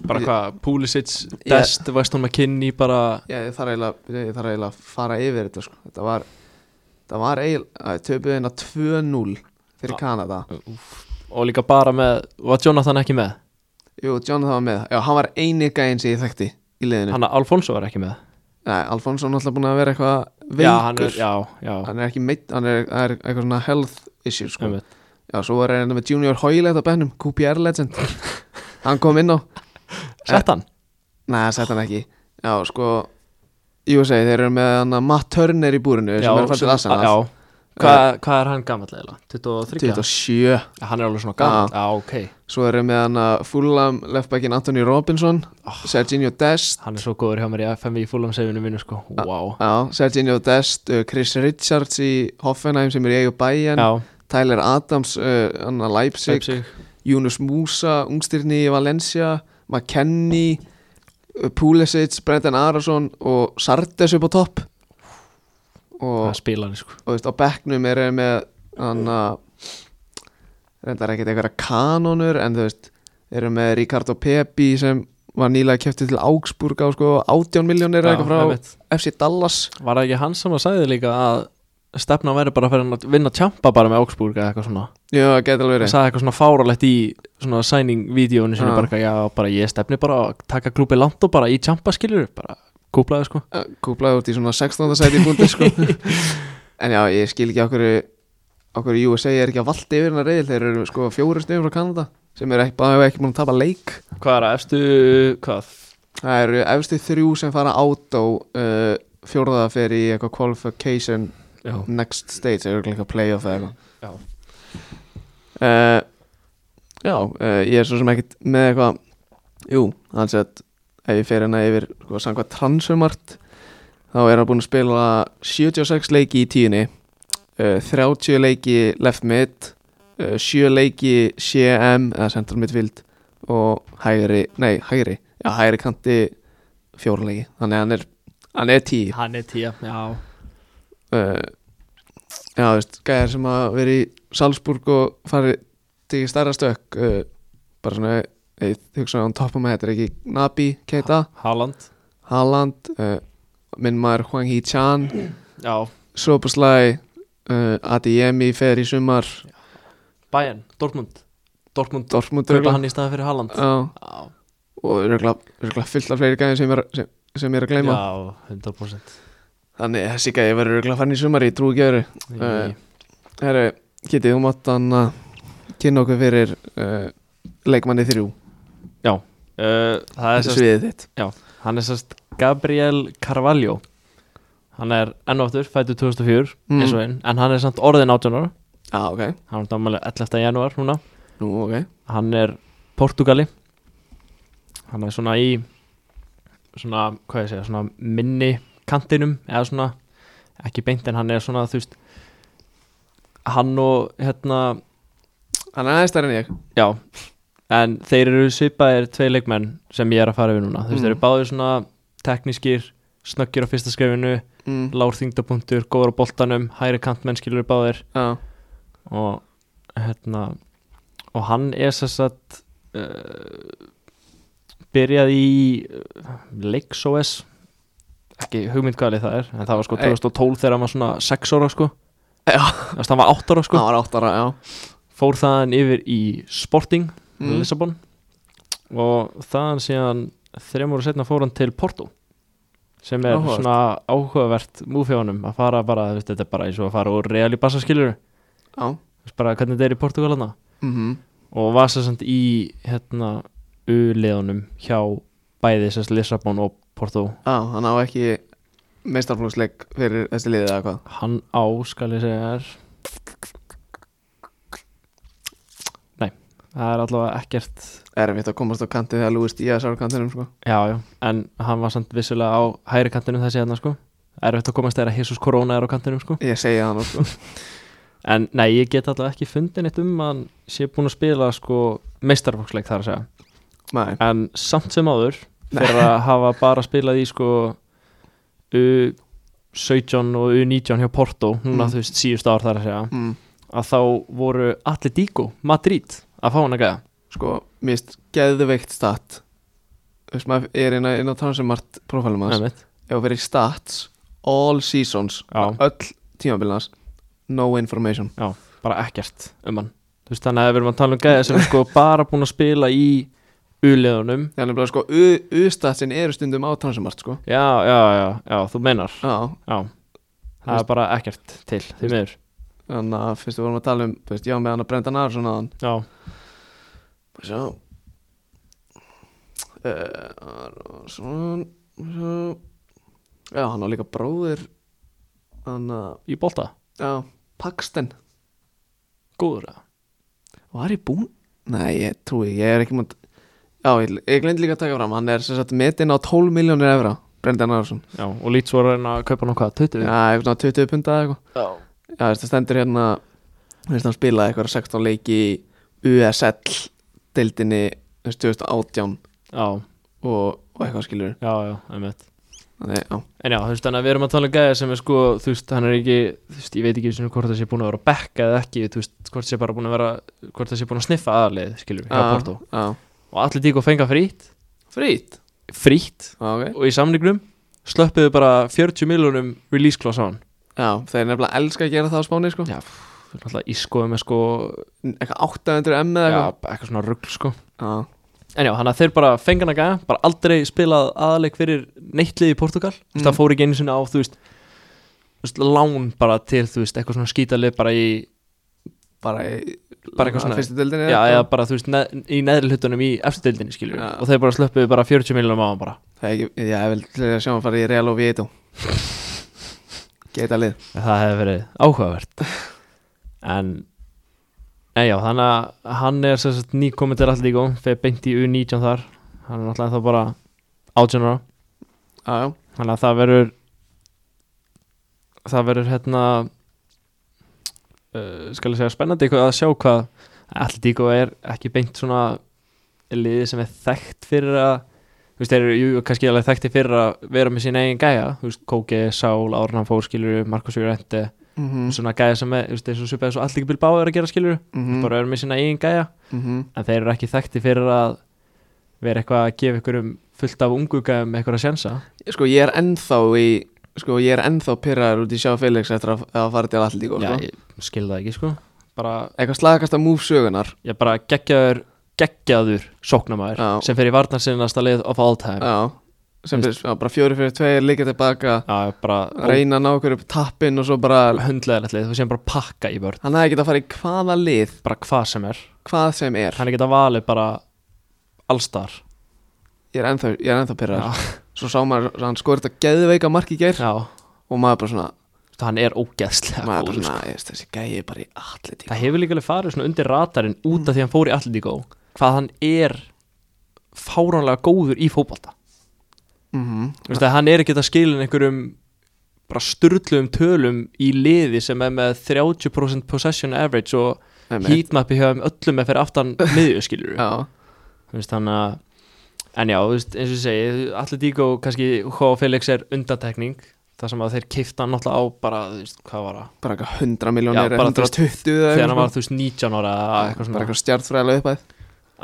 B: bara hvað, Pulisic, Dest, Weston McKinney bara,
A: Já, ég þarf eiginlega, byrja, ég þarf eiginlega að fara yfir þetta sko. Þetta var, þetta var eiginlega, töpuð hérna 2-0 fyrir
B: Já.
A: Kanada.
B: og líka bara með var Jonathan ekki með,
A: Jú, Jonathan var með, já, hann var eini gæinn sem ég þekkti í liðinu.
B: hann að Alfonso var ekki með
A: Nei, Alfonso er náttúrulega búin að vera eitthvað veikur.
B: já, hann er, já, já,
A: Hann er ekki meitt, hann er, það er eitthvað svona health issue sko.
B: einmitt
A: Já, svo var hann hérna með Junior Hoylett á bennum, QPR legend. hann kom inn á,
B: sett hann,
A: nei, það sett hann ekki. Já, sko, jú, segi, þeir eru með hann að Matt Turner í búrinu sem er Eh, fælt til Arsenal.
B: já. Hvað, hvað er hann gammal eiginlega? 23?
A: 27
B: Ja, Hann er alveg svona
A: Ah.
B: gammal, já ok
A: Svo erum við hann að Fulham leftbackin Anthony Robinson
B: Ah.
A: Serginho Dest
B: Hann er svo góður hjá mér í FM í fúlam sefinu mínu sko
A: Ah.
B: Wow
A: já, Serginho Dest, uh, Chris Richards í Hoffenheim sem er í eigu bæjan
B: Já,
A: Tyler Adams, uh, hann að Leipzig,
B: Leipzig
A: Yunus Musa Ungstyrni í Valencia, McKennie uh, Pulisic Brendan Arason og Sardes upp á topp og,
B: Það spila hann sko
A: og veist, á bekknum erum við með hann að reyndar ekkert einhverja kanonur en þú veist, erum við með Ricardo Pepi sem var nýlega kæftið til Augsburg á sko 18 miljónir
B: Já,
A: eitthvað frá
B: einmitt.
A: FC Dallas
B: Var það ekki hann sem að sagði líka að stefna væri bara að fyrir hann að vinna tjampa bara með Augsburg eða eitthvað svona
A: Já, það getur alveg
B: Hann
A: verið
B: sagði eitthvað svona fáralegt í svona signing-vídeónu
A: Já.
B: sinni bara eitthvað, Já, bara ég stefni bara að taka klúpi langt og bara í tjampa skilur bara kúplaði sko
A: Kúplaði út í svona 16. sæti í búndi sko En já, ég skil ekki okkur okkur USA er ekki að valda yfir hennar reyðil þeir eru sko fjóru stöðum frá Kanada sem eru ekki, bara ekki búin að tapa leik
B: Hvað er að efstu, hvað?
A: Það eru efstu þrjú sem fara át á uh, fjórða fer í eitthvað qualification
B: Já,
A: next stage eða eitthvað playoff eða
B: já
A: eitthvað uh, Já, uh, ég er svo sem ekkert með eitthvað Jú, hans að ef ég fer hérna yfir sko, samkvæmt transumart þá er hann búin að spila 76 leiki í tíunni uh, 30 leiki left mid uh, 7 leiki CM eða central midfield og hægri, nei hægri já hægri kanti fjóra leiki þannig að hann er, hann er 10
B: Hann er tíja, já
A: uh, já, þú veist, gæjar sem að vera í Salzburg og fari til stærra stökk uh, bara svona, ég hugsa án toppum að þetta er ekki Nabi, Keita,
B: Haaland
A: Haaland uh, minn maður Hwang Hee Chan
B: Já,
A: Soberslæ uh, Adeyemi fer í sumar
B: Bayern, Dortmund Dortmund,
A: Dortmund
B: kaupa
A: örugglega.
B: hann í staði fyrir Haaland
A: já,
B: Já,
A: og örgulega fullt af fleiri gæjar sem, er- sem, sem ég er að gleyma
B: já 100%
A: þannig þessi gæjar verður örgulega farin í sumar ég trúi ekki öðru
B: Í-
A: Herru, getið þú mátt hann að kynna okkur fyrir uh, leikmanni þrjú
B: Uh, Það er sérst,
A: sviðið þitt
B: hann er sérst Gabriel Carvalho Hann er enn og aftur, fættu 2004
A: Mm.
B: eins og einn, en hann er samt orðin 18 ára
A: Já, ah, ok
B: Hann er dámæli 11. janúar núna
A: Nú, ok
B: Hann er Portugali Hann er svona í svona, hvað ég segja, svona minni kantinum eða svona ekki beint en hann er svona, þú veist hann og hérna
A: Hann er aðeins stærri en ég
B: Já, en þeir eru svipaðir tvei leikmenn sem ég er að fara við núna Þú veist,
A: Mm.
B: þeir eru báðir svona teknískir, snöggir á fyrsta skrefinu
A: mm.
B: Lár þingdapunktur, góður á boltanum, hægri kantmenn skilur báðir
A: Já,
B: Og hérna, og hann er sess að uh, byrjaði í uh, Lakes OS ekki hugmyndkvæli það er en það var sko
A: Ei.
B: 2012 þegar hann var svona 6 ára sko
A: Já.
B: Þú veist, hann var 8 ára sko
A: hann var átt ára, já
B: fór þaðan yfir í Sporting
A: Mm.
B: Lissabon og þaðan síðan þrejum ára setna fór hann til Porto sem er
A: Áhugavert.
B: svona áhugavert múfjónum að fara bara, þú veist, þetta er bara eins og að fara úr Real í bassaskilur
A: Já
B: bara hvernig þetta er í Portugalana
A: mm
B: og var sér samt í hérna U-leðunum hjá bæði sérst Lissabon og Porto
A: Á, hann á ekki meistarflóksleik fyrir þessi liðið eða hvað
B: Hann á, skal ég segja þér Nei, það er allavega ekkert
A: Erfitt að komast á kanti þegar Lúis Díaz er á kantinum sko.
B: Já, já, en hann var samt vissulega á hægri kantinum þessi hérna, sko Erfitt að komast þegar að Jesus Corona er á kantinum, sko
A: Ég segja það nú sko.
B: En nei, ég get allavega ekki fundin eitt um að hann sé búin að spila, sko, meistarfóksleik þar að segja
A: Nei,
B: En samt sem áður Fyrir að hafa bara spilað í sko U17 og U19 hjá Porto Núna
A: Mm.
B: þú veist síðust ár þar að segja
A: mm,
B: Að þá voru allir díko Madrid að fá hann að gæða
A: sko, mér finnst geðveikt stat Þú veist maður er inn á, inn á transumart profilum hans
B: Einmitt.
A: Ef þú fyrir stats, all seasons
B: Já.
A: Öll tímabilans No information
B: Já, bara ekkert um hann Þú veist þannig að ef við erum að tala um gæða sem sko bara búin að spila í U-leðunum
A: Það er nefnilega sko, u- U-statsin eru stundum á transumart sko.
B: Já, já, já, já, þú meinar
A: Já,
B: Já,
A: Þú
B: það
A: veist-
B: er bara ekkert til, því miður
A: þannig að fyrst við vorum að tala um þú veist, Já, með hann að brenda nær svona hann
B: Já,
A: Sjá uh, Svona Sjá Já, hann á líka bróðir Hann að,
B: í bolta,
A: já, Paxton
B: góður það
A: Var ég búinn? Nei, ég trúi, ég er ekki mann Já, ég, ég glemt líka að taka fram Hann er sem sagt metin á 12 miljónir evra Brendan Arason
B: Já, og lít svo að reyna að kaupa nokkað 20
A: Já, eitthvað svona 20 punda eða eitthvað
B: já.
A: Já, þessi stendur hérna Þessi hann spilaði eitthvað 16 leiki í USL Deildinni, þú veist, 2018
B: já,
A: Og, og eitthvað skilur
B: já, já, einmitt
A: Þannig, já
B: En já, þú veist, þannig að við erum að tala um gæði sem er sko, þú veist, hann er ekki, þú veist, ég veit ekki sem hvort það sé búin að vera að bekka eða ekki, þú veist, hvort það sé bara búin að vera, hvort það sé búin að sniffa aðarlið, skilur við, hjá
A: Já,
B: Porto.
A: já.
B: Og allir díku fenga frýtt,
A: Frýtt
B: frýtt,
A: okay.
B: og í samningnum slöppuðu bara 40 miljónum release clause á hann.
A: Já, þeir nefnilega elska að gera það á Spáni sko.
B: Já, pff, þú veist, alltaf ískoðu með sko,
A: Eitthvað 800 M eða
B: já,
A: eitthvað
B: eitthvað svona rugl, sko.
A: Já,
B: En já, hann að þeir bara fengan að gæja, bara aldrei spilað aðaleg fyrir neittlið í Portugal mm.
A: Mm.
B: það fór ekki einu sinni á, þú veist, þú veist lán bara til, þú veist, eitthvað svona skítalið bara í,
A: bara, í,
B: Bara eitthvað svona-
A: Fyrstu dildinni
B: já, eða bara, þú veist, neð, í neðri hlutunum í eftir deildinni, skiljum
A: Já.
B: og þeir bara slöppuðu bara 40 miljonum á hann bara
A: Það er ekki, já, ég vil til að sjá hann fara í Real og Vieto Geta lið
B: En það hefði verið áhugavert en, en já, þannig að hann er sem sagt nýkominn til allir líka, fyrir beint í U19 þar, hann er náttúrulega þá bara 18 ára
A: Já, já,
B: Þannig að það verður það verður hérna uh, skal ég segja spennandi eitthvað að sjá hvað Atletico er ekki beint svona liðið sem er þekkt fyrir að þú veist, þeir eru jú, kannski alveg þekkti fyrir að vera með sín eigin gæja, þú veist, Kóki, Sál, Árnam Fórskilur, Markus Júrenti
A: mm -hmm.
B: svona gæja sem er, þú veist, eins og svipað eins og Atletico Bilbao er að gera skilur,
A: mhm, Mm.
B: bara vera með sína eigin gæja en þeir eru ekki þekkti fyrir að vera eitthvað að gefa einhverjum fullt af ungu gæjum eitthvað að sjensa
A: Sko, ég er ennþá í Sko, ég er ennþá pyrraður út í sjá Felix eftir að, að fara til allir
B: Já,
A: sko.
B: ég skil það ekki sko bara,
A: Eitthvað slagast að múf sögunar
B: ég bara geggjaður geggjaður sóknamaður
A: Já.
B: sem fer í varnarsinnasta lið of all time
A: Já, sem
B: Veist-
A: fyrst, já, bara fjóri fyrir tveir líka tilbaka,
B: já, bara
A: reyna að ná okkur upp tappinn og svo bara,
B: hundlegaðilegt lið þú séum bara pakka í vörn
A: hann hefði getað að fara í hvaða lið
B: bara hvað sem er,
A: hvað sem er
B: hann er geta valið bara allstar
A: ég er ennþá, ég er ennþá pyrrar
B: já,
A: svo sá maður að hann skorið þetta geðveika mark í gær
B: já,
A: og maður bara svona,
B: hann er ógeðslega
A: maður bara
B: góður, sko.
A: svona ég veist, þessi gæi er bara í allir tíma
B: það hefur líka alveg farið svona undir ratarinn út af því að hann fór í Atletico hvað hann er fáránlega góður í fótbalta
A: mm -hmm.
B: Þú veist að hann er ekki að skilin einhverjum bara styrluðum tölum í liði sem er með 30% possession average og heatmapi hjá þeim öllum er fyrir aftan miðju skilur
A: já,
B: þú veist þannig að en já, þú veist, eins og ég segi, allir díko kannski H.O. Felix er undantekning þar sem að þeir keifta hann náttúrulega á bara, þú veist, hvað var það,
A: bara eitthvað 100 miljónir
B: Já, bara
A: 120 eða
B: þegar hann
A: eitthvað
B: var, þú veist, 19 ára eða eitthvað
A: bara
B: svona,
A: eitthvað stjartfræðilega uppæð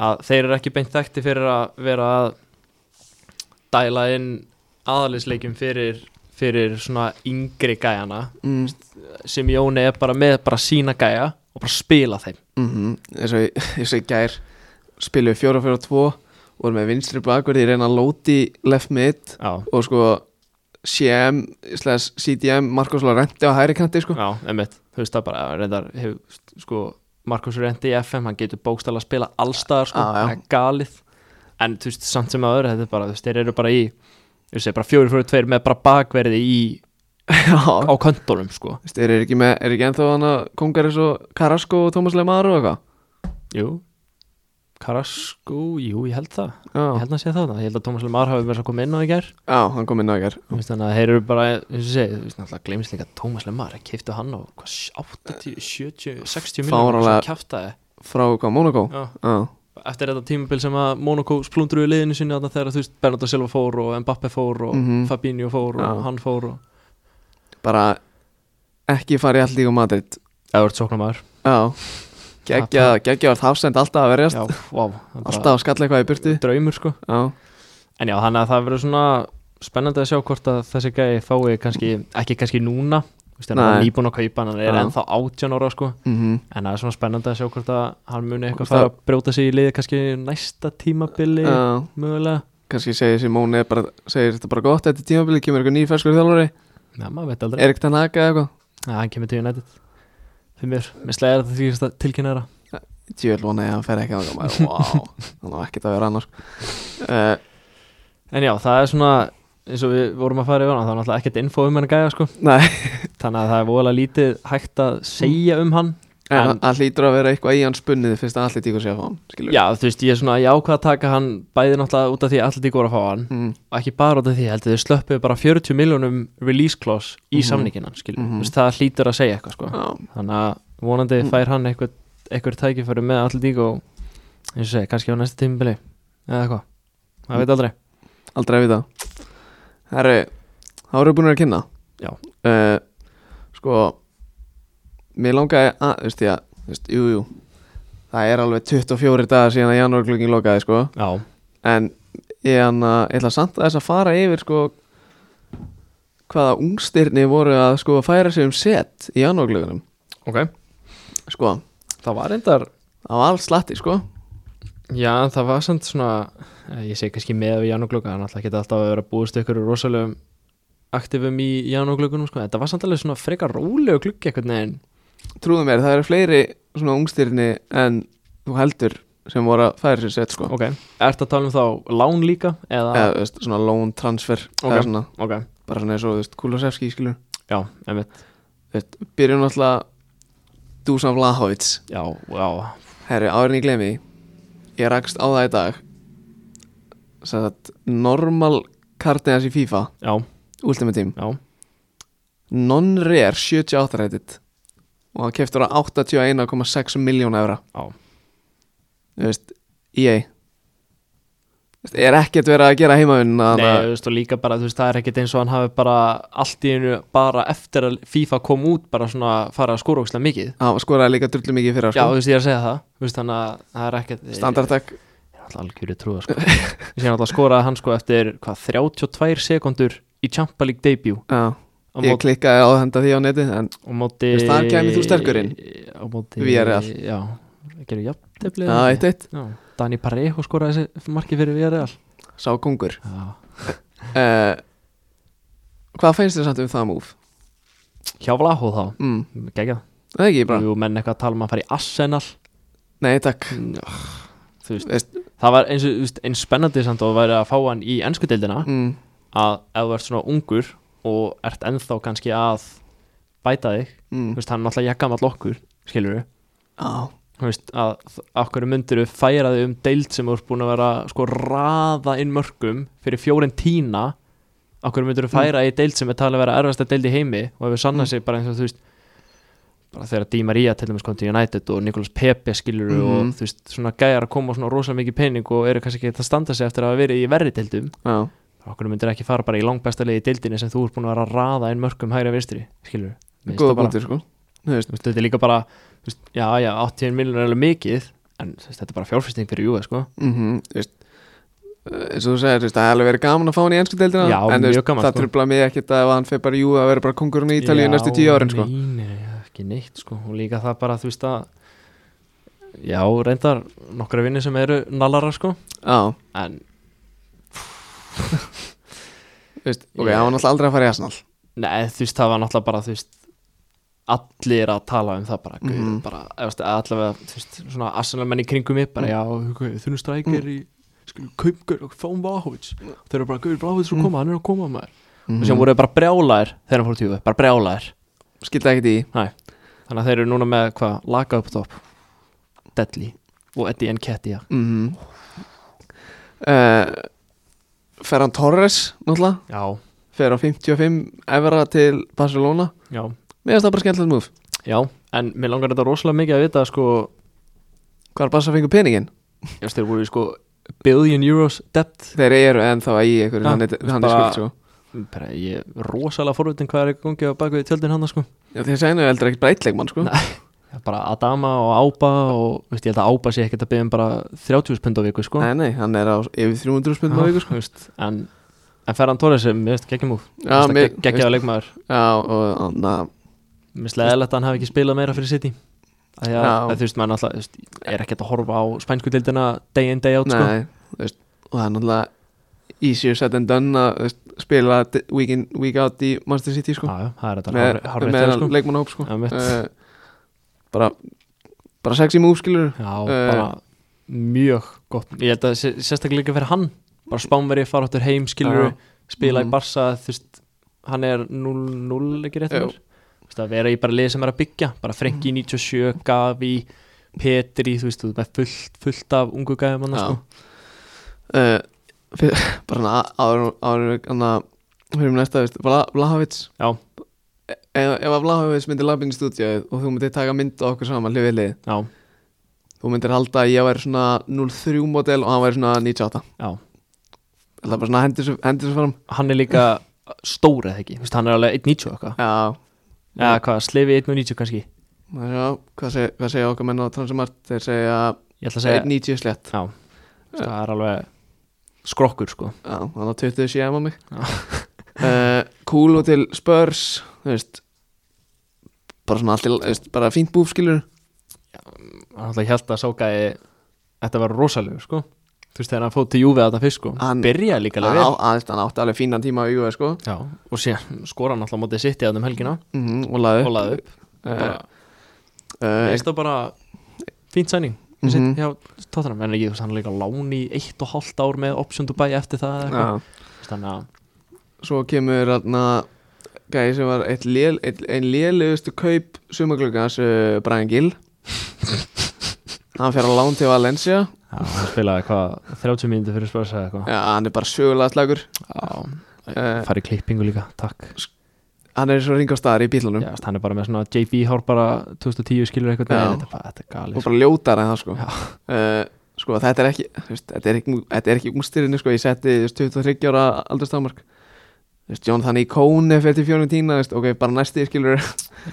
B: að þeir eru ekki beint þekkti fyrir að vera að dæla inn aðalisleikjum fyrir, fyrir svona yngri gæjana
A: mm
B: sem Jóni er bara með bara sína gæja og bara spila þeim
A: -hmm. eins og ég- eins og í gær spilum við 4-4-2 vorum með vinstri bakverði, ég reyna að lóti left mid
B: Já,
A: og sko CM, slash CDM Marcos Lorente á hæri kanti sko
B: já, emmitt Þú veist það bara, reyndar hefur, sko, Markus Rendi í FM, hann getur bókstala að spila allstaðar, sko,
A: Já, já.
B: það er galið En þú veist, samt sem að öðru, þetta er bara, þú veist, þeir eru bara í ég segi bara fjóri fjóri tveir með bara bakverði í,
A: Já,
B: á köntunum sko
A: Þú veist, er ekki, með, er ekki ennþá hann að kongar eins og Carrasco og Thomas Lemar og eitthvað?
B: Jú Carrasco, jú, ég held það Ég
A: Já.
B: held að sé það, ég held að Thomas Lemar hafi verið að koma inn á í gær
A: Já, hann kom inn á ekkert.
B: Þú veist, Þannig að þeir eru bara, eins og segi Þú veist náttúrulega gleymist líka að Thomas Lemar Keiftu hann á hvað, 80, 70, 60
A: Eh,
B: miljonum
A: Fáránlega.
B: sem kjaftaði
A: Frá hvað, Monaco?
B: Já.
A: Já.
B: Eftir þetta tímabil sem að Monaco splundruði liðinu sinni þarna þegar þú veist Bernardo Silva fór og Mbappe fór og
A: Mhm.
B: Fabinho fór og
A: Já.
B: hann fór og
A: Bara ekki fara í allt líka Madrid.
B: Evert Sóknarmar
A: Já. Geggja, geggja var hafsend alltaf að verjast.
B: Já, wow, það er bara
A: Alltaf að skalla eitthvað í burtu.
B: draumur sko
A: Já.
B: En já, þannig að það verður svona spennandi að sjá hvort að þessi gæi fái kannski, ekki kannski núna þú veist, hann
A: Nei.
B: er nýbúin að kaupa hann, hann er
A: Já.
B: ennþá 18 ára sko
A: Mhm.
B: en það er svona spennandi að sjá hvort að hann muni eitthvað
A: Hvort að-
B: fara að brjóta sig í liði kannski næsta tímabili
A: Já.
B: mögulega,
A: Kannski segir Simone bara, segir þetta bara gott þetta tímabili, kemur eitthvað nýr ferskur þjálfari.
B: já maður veit aldrei
A: Erik Tanaka eða eitthvað.
B: Já, hann kemur til United fyrir mér, mér slegir þetta því að tilkynna þeirra
A: Tjöl vona ég að hann fer ekki á það. Maður, wow. Hann á ekkert að vera annars. Uh,
B: en já, það er svona eins og við vorum að fara yfir hann, það er náttúrulega ekkert info um hann gæja sko,
A: nei.
B: þannig að það er voðalega lítið hægt að segja um hann En-
A: En hann hlýtur að vera eitthvað í hans spunnið fyrst að allir tíkur sé að fá hann, skilur
B: Já, þú veist, ég er svona, ég ákvað að taka hann bæði náttúrulega út af því að allir voru að fá hann
A: mm,
B: og ekki bara út af því, ég held að þau slöppuðu bara 40 miljónum release clause í mm
A: Mhm.
B: samningin hann, skilur,
A: Mhm.
B: þú veist, það hlýtur að segja eitthvað, sko
A: já,
B: þannig að vonandi
A: Mm.
B: fær hann eitthvað, eitthvað tækifæri með allir dík og eins og segja, kannski á næsta tímabili eða eitthvað,
A: Mm.
B: það veit aldrei
A: aldrei að vita Herru, þá eru búin að kynna
B: Já.
A: Eh, Sko Mér langaði að, þú veist ég að þú veist, Jú, jú Það er alveg 24 dagar síðan að janúarklöngin lokaði, sko
B: Já,
A: En ég hann að, ég ætla samt að þess að fara yfir, sko Hvaða ungstyrni voru að, sko, færa sig um set í janúarklögunum
B: ok
A: Sko,
B: Það var reyndar,
A: það var alls slatti, sko
B: já, en það var samt svona eh, ég segi kannski með við janúglöka en alltaf geta alltaf að vera búist ykkur rosalegum aktifum í janúglökunum sko. þetta var samt alveg svona frekar rólegu gluggi eitthvað neginn
A: trúðu mér, það eru fleiri svona ungstyrni en þú heldur sem voru að færa sér sett sko
B: Ok, ertu að tala um þá lán líka? Eða,
A: eða þú veist, svona loan transfer
B: Ok.
A: eða svona,
B: ok,
A: bara svona eins og þú veist Kulusevski skilur,
B: já, einmitt
A: Þú veist, byrjum náttúrulega Dusan Vlahovic,
B: Já, já,
A: herri, árin ég glemi því ég rakst á það í dag sætt normal kartinas í FIFA,
B: já,
A: ultimate team
B: já
A: non-rare 78 reddit og hann keftur á 81,6 miljón evra
B: Já.
A: þú veist, EA Þú veist, er ekkert verið að gera heimavinn að
B: Nei, þú veist, og líka bara, þú veist, það er ekkert eins og hann hafi bara allt í einu, bara eftir að FIFA kom út, bara svona fara að skóra ókslega mikið
A: hann skoraði líka drullu mikið fyrir
B: Já, þú
A: sko.
B: veist, ég er að segja það, þú veist, þannig að það er ekkert
A: standardtak
B: Ég er alltaf algjöru trúða, sko Ég sé alltaf skoraði hann, sko, eftir, hvað, 32 sekundur í Champa League debut
A: Já,
B: á
A: ég
B: móti,
A: klikkaði á þetta því á neti en
B: á
A: Þú
B: móti
A: veist, þar kæmir þú sterkur inn.
B: Á móti
A: Villarreal.
B: Já, gerðu jafntefli
A: já,
B: eða ekki?
A: eitt eitt,
B: Já, Dani Parejo skoraði þessi marki fyrir Villarreal
A: sá kongur
B: Já.
A: uh, Hvað finnst þér samt um það múf?
B: Hjá Vlaho þá,
A: Mm,
B: gegja
A: það er ekki bara,
B: Jú, menn eitthvað að tala um að fara í Arsenal
A: nei takk
B: Þú veist,
A: Veist,
B: það var eins, og, þú veist, eins spennandi samt og væri að fá hann í ennsku deildina
A: mm,
B: að ef þú ert svona ungur og ert ennþá kannski að bæta þig,
A: mm,
B: þú veist, hann er náttúrulega jakka með okkur, skilur við
A: á,
B: Þú veist, að okkur myndir við færa þig um deild sem þú ert búin að vera sko raða inn mörgum fyrir fjórin tína okkur myndir við færa í deild sem er talið að vera erfasta deild í heimi og hefur sannað sig bara eins og þú veist bara þegar Di Maria til dæmis kom til United og Nikolas Pepe skilur
A: Mhm.
B: og þú veist svona gæjar að koma á svona rosalega mikið pening og eru kannski ekki að standa sig eftir að hafa verið í verri deildum
A: á,
B: okkur myndir ekki fara bara í langbesta leið í deildinni sem þú ert búin að vera að raða inn mörgum hægri að vinstri skilur
A: góða búntir sko Þú veist,
B: Þú veist, þetta er líka bara þú veist, já, já, 80 miljonar er alveg mikið en þú veist, þetta er bara fjárfæsting fyrir Júve sko.
A: mm þú veist eh, eins og þú segir, þú veist, það er alveg verið gaman að fá hann í ennsku deildina
B: Já,
A: en þú
B: mjög gaman,
A: það
B: sko.
A: trubla mig ekkert að ef hann fer bara í jú að vera bara kongurinn í Ítalíu
B: Já,
A: næstu tíu árin sko.
B: nei, nei, ekki neitt sko. og líka það bara þú veist að já, reyndar nokkra vinni sem eru nallara sko.
A: Já,
B: en
A: þú veist, ok,
B: Ég-
A: hann var náttúrulega aldrei að fara í Arsenal
B: nei, þú veist, það var náttúrulega bara þú veist allir að tala um það bara, mm
A: Mhm. Mhm.
B: bara eða, þú veist, allavega, þú veist, svona arsenalmenn í kringum mig bara, já, þú veist, þunustrækir mm. í skulum kaupgur og fáum Vahovic
A: Mhm.
B: þau eru bara, Gaur Vahovic er
A: Mm.
B: að koma, hann er að koma maður
A: mm
B: og sem voru þeir bara brjálæðir þegar hann fór tíu, bara brjálæðir
A: Skilta ekkert í
B: þannig að þeir eru núna með hvað, Laka upp topp Deadly og Eddie Nketiah
A: mm -hmm. Eh, Ferran Torres náttúrulega,
B: já,
A: fer á 55 evra til Barcelona
B: já,
A: Mér finnst það bara skemmtilegt múf
B: já en mér langar þetta rosalega mikið að vita sko,
A: Hvað er Barca fengur peningin?
B: ég veist þeir voru í, sko billion euros debt
A: Þeir eru ennþá í einhverju
B: Já,
A: hann, er- hann er
B: bara-
A: skuld sko
B: bara, ég er rosalega forvitin hvað er í gangi á bakvið tjöldin hann sko
A: Já, þeir segna við heldur ekkert breytleikmann sko
B: Nei. Já, bara Adama og Ába og veist, ég held að Ába sé ekkert að byggja um bara 30 pund á viku sko
A: nei, nei, hann er á yfir 300 spundum á viku sko
B: sko veist, en, en Ferran Torres er mér veist geggjum úr
A: Já, mér-
B: geggjaða leikmaður
A: Já, og hann að
B: mér sleðilegt að hann hafi ekki spilað meira fyrir City að því að,
A: Já.
B: að þú veist maður alltaf þú veist, er ekkert að horfa á spænsku dildina day in day out sko
A: Nei, þú veist Og það er náttúrulega easier said and done að þú veist, spila d- week in, week out í Manchester City sko
B: Já, já, það er þetta
A: Með,
B: hár- hárrétt
A: með
B: hjá, sko.
A: leikmannahóp sko
B: Já, mitt.
A: Eh, Bara Bara sexy move skilur
B: Já,
A: Eh.
B: bara mjög gott Ég held að sé- sérstaklega líka fyrir hann bara spánveri, fara áttur heim, skilur
A: Já.
B: spila
A: Mhm.
B: í Barsa, þú veist hann er 0-0, ekki rétt
A: Jú.
B: mér Þú veist, að vera í bara lið sem er að byggja bara
A: Mhm.
B: Frenki 97, Gavi Petri, þú veist, þú veist, með fullt, fullt af ungu gæðum hann,
A: Já.
B: sko
A: uh, fyr, bara hana áður áður hana fyrir næsta veist, Vla, Vlahovic E-
B: Já.
A: ef, ef að Vlahovic myndi labbin í stúdíu og þú myndir taka mynd á okkur saman hlifið lið
B: Já,
A: þú myndir halda að ég væri svona 03 model og hann væri svona 98
B: já,
A: það er bara svona hendur svo, hendur svo fram
B: hann er líka stór eða ekki, þú veist, hann er alveg 1.90 og eitthvað
A: já,
B: Já, hvað, slefi 1.90 kannski
A: já, já hvað, seg, hvað segja okkar menn á Transmart þeir segja
B: Ég ætla að segja,
A: 190 slett
B: já, þú veist, það er alveg skrokkur, sko
A: já, hann á 27 á mig
B: Já.
A: uh, Kúlu til Spurs þú veist bara svona allt í, þú veist, bara fínt búf skilur
B: hann alltaf held að Sákaði þetta var rosalegur sko þú veist þegar hann fótt til Júfi að þetta fyrst sko
A: Hann-
B: hann byrjaði líka alveg
A: Á-
B: vel
A: aðeins, hann átti alveg fínan tíma á UV sko
B: já, og síðan skora hann alltaf á mótið sitt í aðnum um helgina
A: mm og laði
B: og laði upp bara,
A: uh,
B: veist það bara fínt sæning
A: Mhm.
B: mm -hmm. já, tóttanum, en ekki þú veist hann er líka lán í eitt og hálft ár með option Dubai eftir það eða eitthvað.
A: já,
B: Þú veist, þannig að
A: svo kemur hann gæði sem var eitt lél, eitt, ein lélugustu kaup sumaglugans uh, Brian Gill hann fer á lán til Valencia
B: já, hann spilaði hvað 30 mínúti fyrir spörsa eða eitthvað
A: já, hann er bara sögulega slagur
B: já,
A: Eh.
B: farið klippingu líka, takk
A: hann er svo ringa á staðar í bílunum
B: já, hann er bara með svona JB hár bara 2010 skilur eitthvað
A: Já.
B: þetta er bara, þetta er galið
A: og
B: sko.
A: bara ljótar en það sko
B: Já.
A: uh, sko þetta er ekki þú veist, þetta er ekki, þetta er ekki ungstirinu sko ég setti þú veist, 23 ára aldurstámark þú veist Jón þannig í kóni fyrir til fjórnum tína veist, ok bara næsti skilur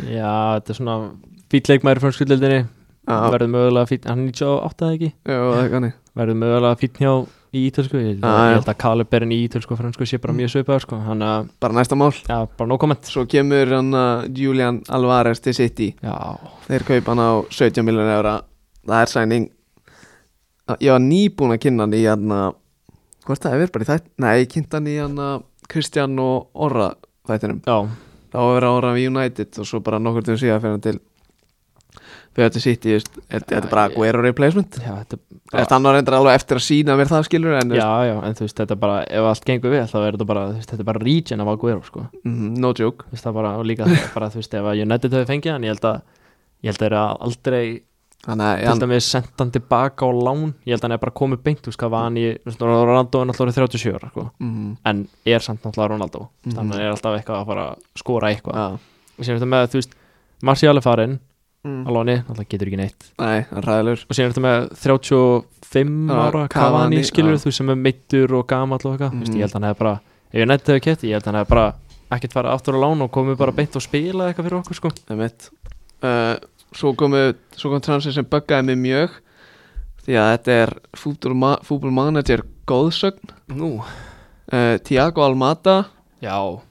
B: já, þetta er svona fýt leikmæður frá skuldildinni
A: og
B: verður mögulega fýtn, hann er 98 eða ekki
A: það kanni
B: verður mögulega fýtn hjá í ítölsku
A: Já,
B: ég, ég
A: já.
B: held að Kaliberinn í ítölsku og fransku sé bara mjög svipaður sko hann að,
A: bara næsta mál
B: já, bara no comment
A: svo kemur hann uh, Julian Alvarez til City
B: já,
A: þeir kaupa hann á 17 miljonur eura það er sæning ég var nýbúin að kynna hann í hann hvort það er bara í þætt nei, ég kynnt hann í hann Kristján og Orra þættinum
B: já,
A: þá var að vera ára við United og svo bara nokkur tíma síðan fyrir hann til fyrir til City, þú veist, þetta þetta er bara Aguero replacement
B: já, þetta
A: Þú veist, hann var reyndar alveg eftir að sína mér það skilur en þú
B: já,
A: veist,
B: já, en þú veist, þetta er bara ef allt gengur vel, þá er þetta bara, þú veist, þetta er bara region af Aguero sko,
A: mhm, no joke
B: þú veist, það bara, og líka það er bara, þú veist, ef að United hefur fengið hann, ég held að ég held að það er aldrei,
A: þannig að
B: til
A: hann,
B: dæmis sent hann tilbaka á lán, ég held að hann er bara komið beint, þú veist, hvað var hann í, þú veist, Ronaldo er náttúrulega orðinn 37 ára, sko.
A: mhm,
B: en er samt náttúrulega Ronaldo
A: Mhm.
B: mm -hmm. þannig að hann er alltaf eitthvað að fara að skora eitthvað
A: já.
B: og síðan er þetta með, þú veist, Martial er farinn
A: Mm.
B: á lóni, náttúrulega getur ekki neitt
A: nei, hann er ræðilegur
B: og síðan er þetta með 35
A: Já,
B: ára
A: Cavani,
B: Cavani skilur
A: já.
B: þú sem er meittur og gamall og eitthvað mm
A: Mhm.
B: ég held að hann hefði bara, ef ég nætti hefði kett ég held að hann hefði bara ekkert fara aftur á lán og komið bara beint og spila eitthvað fyrir okkur sko
A: það er mitt uh, svo komu, svo kom transfer sem buggaði mig mjög því að þetta er fútbolma- fútbolmanager góðsögn
B: Nú,
A: uh, Tiago Almada
B: já,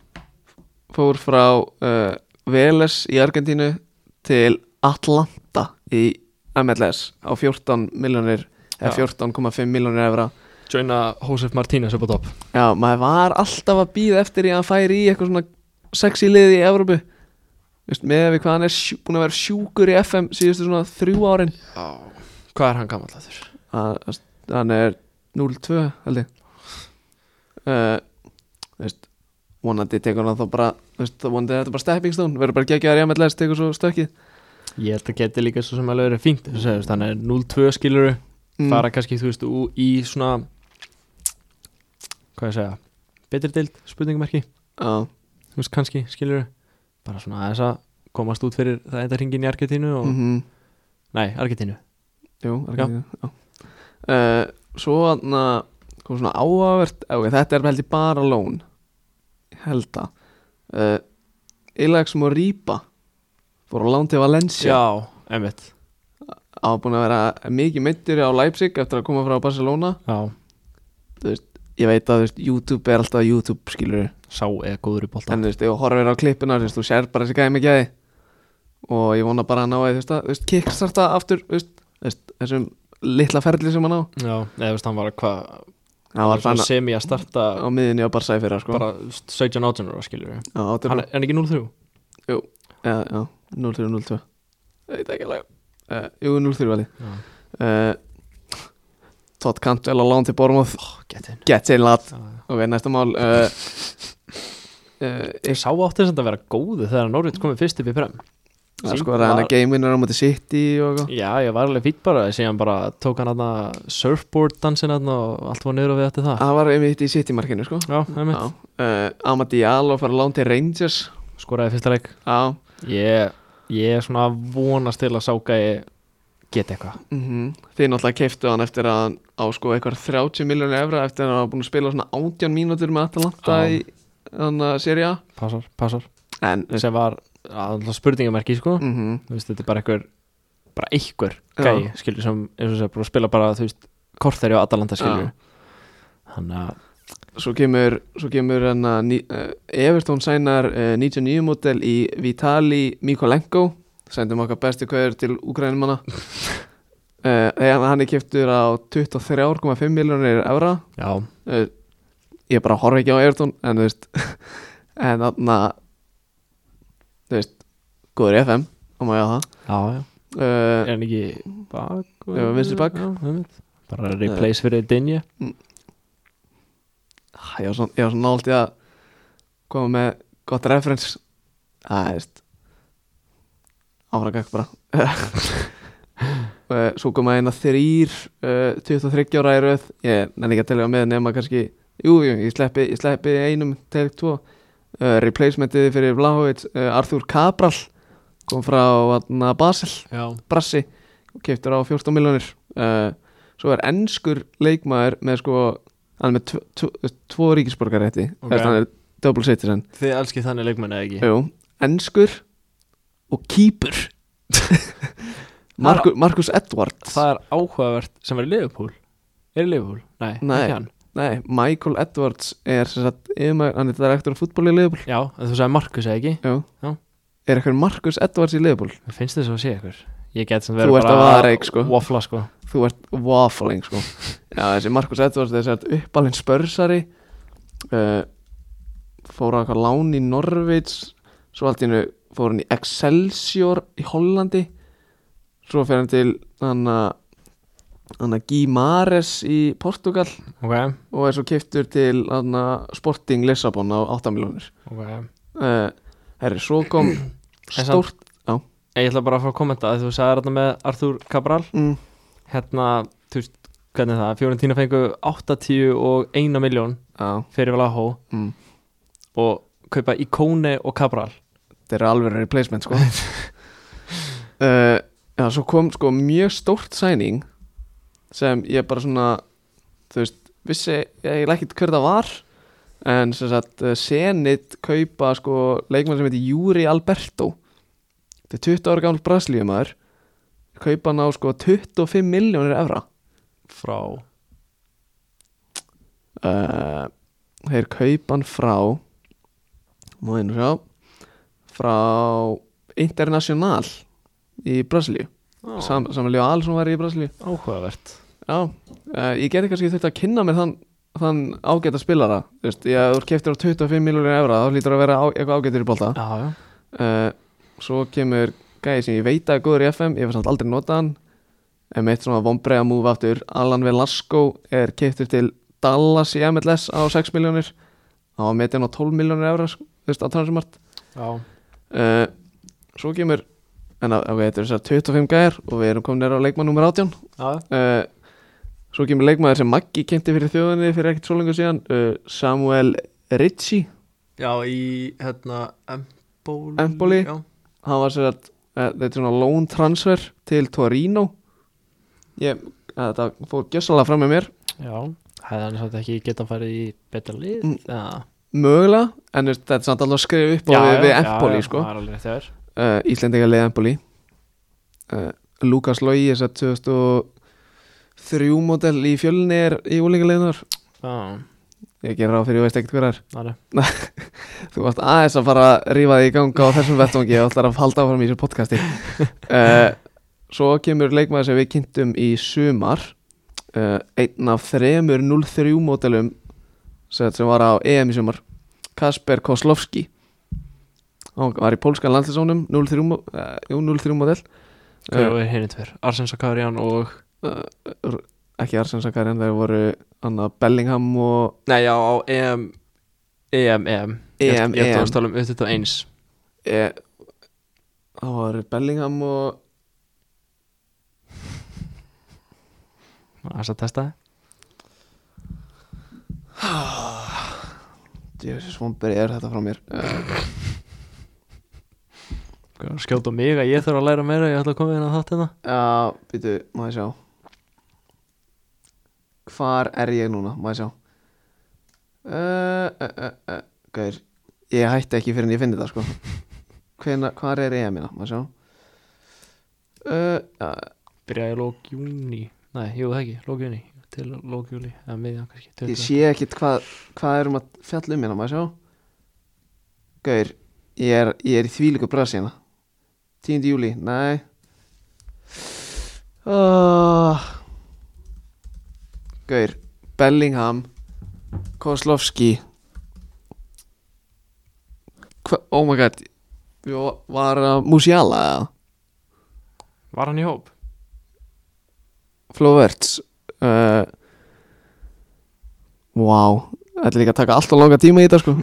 A: fór frá uh, Veles í Argentínu til Atlanta í MLS á 14 miljonir eða
B: Já.
A: 14,5 miljonir evra
B: joina Josef Martínez upp á topp
A: Já, maður var alltaf að býða eftir í að hann færi í eitthvað svona sexy liði í Evrópu Veist, með við hvað hann er sjú, búin að vera sjúkur í FM síðustu svona þrjú árin
B: Já Hvað er hann gamall að þurr?
A: Hann- Hann er 0-2 held ég uh, þú veist vonandi tekur hann þá bara þú veist, þá vonandi er þetta bara stepping stone verður bara geggjaðar í MLS tekur svo stökkið
B: Ég held að geti líka svo sem alveg verið fínt eins og segir, þú veist, hann er 0-2 skiluru Mm. fara kannski, þú veist, ú- í svona hvað ég segja betri deild, spurningumarki
A: á,
B: þú veist, kannski, skiluru bara svona aðeins að komast út fyrir það enda hringin í Argetínu og,
A: mm -hmm.
B: nei, Argetínu
A: Jú, Argentínu, já. Uh, svo hann kom svona áhugavert okay, þetta er held ég bara lón Ég held að uh, Ilax Moriba fór á lán til Valencia
B: Já, emmitt
A: á búin að vera mikið meittur á Leipzig eftir að koma frá Barcelona
B: Já,
A: ég veit að þú veist, YouTube er alltaf YouTube skilur
B: sá eða góður í bolta
A: en þú veist, ef þú horfir á klippuna þú veist, þú sér bara þessi gæmi ekki að því og ég vona bara að ná að þú veist, að, þú veist kickstarta aftur þú veist, þú veist, þessum litla ferli sem hann á
B: Já, eða þú veist, hann var hvað
A: hann var fann
B: semi að starta
A: á miðinni á Barsæði fyrir sko.
B: bara 17 átján ára, skiluru
A: Já, átján
B: Hann er, er hann ekki 0-3
A: Já, já, 0-3-0-2 Ég veit ekki alveg uh, Jú, 0-3 vali
B: Já.
A: uh, Todd Cantwell á lán til Bormoth
B: Ó, getin
A: Get in lad
B: Ég
A: Ok, næsta mál uh, uh, Ég
B: sá átti þess að vera góðu þegar Norvits komið fyrst upp í prem
A: það sko að hann að game winner á móti City og eitthvað
B: Já, ég var alveg fýtt bara síðan bara tók hann aðna surfboard dansin aðna og allt var niður og við eftir það
A: Ah. Það var einmitt í City markinu sko
B: Já,
A: Já,
B: einmitt,
A: uh, Amadi Jaló fara á lán til Rangers
B: skoraði fyrsta leik
A: Já,
B: Ég, ég er svona að vonast til að sáka ég geta eitthvað
A: mhm Þið náttúrulega keiftu hann eftir að hann á sko eitthvað 30 miljónu evra eftir að hann var búin að spila svona 18 mínútur með Atalanta
B: Já.
A: í hann að séri A
B: Passar, passar
A: En,
B: Sem var alltaf spurningamerki, sko
A: mhm
B: Þú veist, þetta er bara einhver bara einhver
A: Já.
B: gæi, skilur sem eins og þess að spila bara, þú veist, korteri og Atalanta
A: Já.
B: skilur Þannig að
A: Svo kemur, svo kemur hana, ný, uh, Everton sænar uh, 99 mótel í Vitali Mikolenko sendum okkar bestu kveður til Ukrænumanna uh, en hann er kiptur á 23,5 miljónir evra
B: Já,
A: uh, ég bara horf ekki á Everton en þú veist en þarna þú veist, góður í FM og maður á
B: já, já
A: það
B: Er
A: uh,
B: hann ekki bak?
A: Já, vinstri bak. Eh.
B: Já, einmitt. Bara replace fyrir Dinje
A: ég var svona, ég var svona nált í að koma með gott reference að þú veist áfragak bara Eh, svo koma eina þrýr uh, 23 ára í röð ég nenni ekki að telja með nema kannski jú, jú, ég sleppi, ég sleppi einum til tvo uh, replacementið fyrir Vlahovic, uh, Arthur Cabral kom frá vatna, Basel
B: Já
A: Brassi og keiptur á 14 miljonir uh, svo er ennskur leikmaður með sko hann er með tvo, tvo, tvo ríkisborgarétti
B: Ok.
A: okay. hann er double citizen
B: Þið elskið þannig leikmenn eða ekki
A: Jú, ennskur og kýpur Marku, Markus Edwards
B: Það er áhugavert sem var í Liverpool Er í Liverpool? Nei,
A: Nei.
B: ekki hann
A: Nei, Michael Edwards er sem sagt, yfirmaður, hann er direktur á fútbol í Leifbúl
B: Já, en þú sagði Markus eða ekki
A: Jú
B: Já.
A: Er eitthvað Markus Edwards í Leifbúl?
B: Mér finnst þess að sé ykkur Ég get sem
A: Þú
B: verið
A: ert
B: bara
A: að vara eik, sko.
B: Waffla sko
A: þú ert waffling sko. já, þessi Markus Edvards þessi er uppalinn spörsari uh, fór á eitthvað lán í Norvits svo allt í hennu fór hann í Excelsior í Hollandi svo fer hann til hann að Guy Mares í Portugal
B: Ok,
A: og er svo kiptur til hann Sporting Lissabon á 8 miljónir
B: ok
A: uh, herri, svo kom
B: En
A: stórt
B: Ég ætla bara að fá að kommenta að þú sagði þarna með Arthur Cabral
A: mm,
B: Hérna, þú veist, hvernig er það Fjórentína fengu 80 og 1 miljón
A: á,
B: fyrir Valahó
A: mm,
B: og kaupa Ikone og Cabral
A: Þetta er alveg replacement sko uh, Já, svo kom sko mjög stórt sæning sem ég bara svona þú veist, vissi ég ekkert hver það var en sem sagt uh, Senit kaupa sko leikmann sem heitir Júri Alberto þetta er 20 ára gammal braslíumæður kaupa hann á sko 25 miljónir evra
B: frá
A: uh, þeir kaupa hann frá má einu sjá frá International í Brasilíu Sam, Samanlíu Alsson var í Brasilíu
B: áhugavert
A: já, uh, ég geti kannski þurft að kynna mér þann, þann ágæta spilara þú veist, ég þú keftir á 25 miljónir evra þá hlýtur að vera á, eitthvað ágætur í bolta
B: Já, já
A: Eh, uh, svo kemur gæði sem ég veit að er góður í FM ég var samt aldrei notað hann en mitt svona vombreiða múf aftur Alan Velasco er keiptur til Dallas í MLS á 6 miljónir hann var metin á 12 miljónir evra sko, þú veist, á transumart
B: Já,
A: uh, svo kemur en að, ok, þetta er þessar 25 gæjar og við erum komin nær á leikmann nummer 18
B: já,
A: uh, svo kemur leikmaður sem Maggi kynnti fyrir þjóðinni fyrir ekkert svo lengur síðan uh, Samuel Ritchie
B: já í hérna Emboli,
A: Empoli.
B: Já,
A: hann var sér að uh, þetta er svona loan transfer til Torino ég, uh, þetta fór gjössalega fram með mér
C: já hefði hann svolítið ekki getað farið í betra lið
A: Mm.
C: eða
A: mögulega, en þú veist, þetta er samt alveg að skrifa upp á við, við Empoli, sko
C: það er alveg rétt hjá þér.
A: uh, Íslendinga leið Empoli uh, Lukas Lói er satt 2003 model í fjölni er í úlingaleiðunar
C: já,
A: ég gerir ráð fyrir, ég veist ekkert hver það er
C: það er
A: þú varst aðeins að fara að rífa þig í ganga á þessum vettvangi og ætlar að halda áfram í þessu podcasti uh, svo kemur leikmaður sem við kynntum í sumar uh, einn af þremur 0-3 modelum sem sem var á EM í sumar Kasper Koslovski hann var í pólskan landslisónum 0-3 mo- eh, jú, 0-3 model
C: hvað er henni tver
B: Arsen Sakarian og
A: uh, ekki Arsens Akari en þeir voru Anna Bellingham og
B: Nei, já, á EM EM, EM
A: EM.
B: Ég ætla að tala um upp þetta eins
A: e, það voru Bellingham og
B: Þess að testa það
A: Jesus, vonberi er þetta frá mér uh,
B: Hvað, Sko, Skjóta á mig að ég þarf að læra meira Ég ætla að koma inn að þátt hérna
A: já, býtu, má ég sjá hvar er ég núna, má ég sjá uh, uh, uh, uh, gaur ég hætti ekki fyrir en ég finni það sko Hvena, hvar er ég að minna, má ég sjá uh, uh,
B: Byrjaði lók júni Nei, jú það ekki, lók júni Til lók júli, eða miðjan kannski 20.
A: ég sé ekkit hvað hvað erum að fjalla um hérna, má ég sjá gaur ég er, ég er í þvílíku brasi hérna 10. júli, nei oh. gaur Bellingham Kozlovski Hva, oh my god Jó, var að Musiala eða?
B: Var hann í hóp?
A: Flóverts uh, Wow Þetta er líka að taka alltaf langa tíma í þetta sko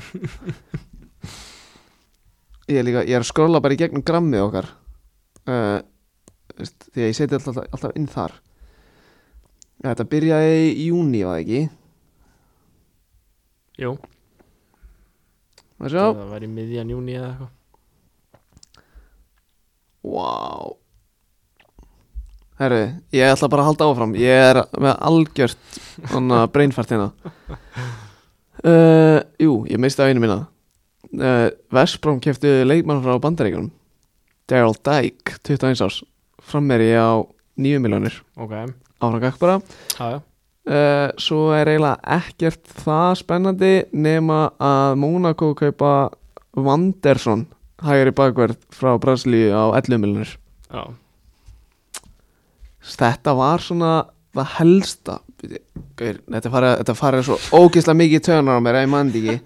A: Ég er líka Ég er að skrolla bara í gegnum grammið okkar uh, veist, Því að ég seti alltaf, alltaf inn þar Þetta byrjaði í júni var það ekki
B: Jú,
A: Má sjá
B: það var í miðjan júni eða eitthvað
A: Wow Herru, ég ætla bara að halda áfram Ég er með algjört Þannig að breinfært hérna uh, Jú, ég misti af einu mína uh, Vespróm keftu leikmann frá bandaríkunum Daryl Dyke, 21 árs Frammeri á 9 miljónir
B: Ok,
A: Áfram gakk bara
B: já, já
A: uh, Svo er eiginlega ekkert það spennandi Nema að Monaco kaupa Vandersson Hægri bakverð frá Brasilíu á 11 miljónir
B: Já,
A: Þetta var svona það helsta Bíddu, Gaur, þetta farið, þetta farið svo ógeðslega mikið í tönar á mér að ég mann ekki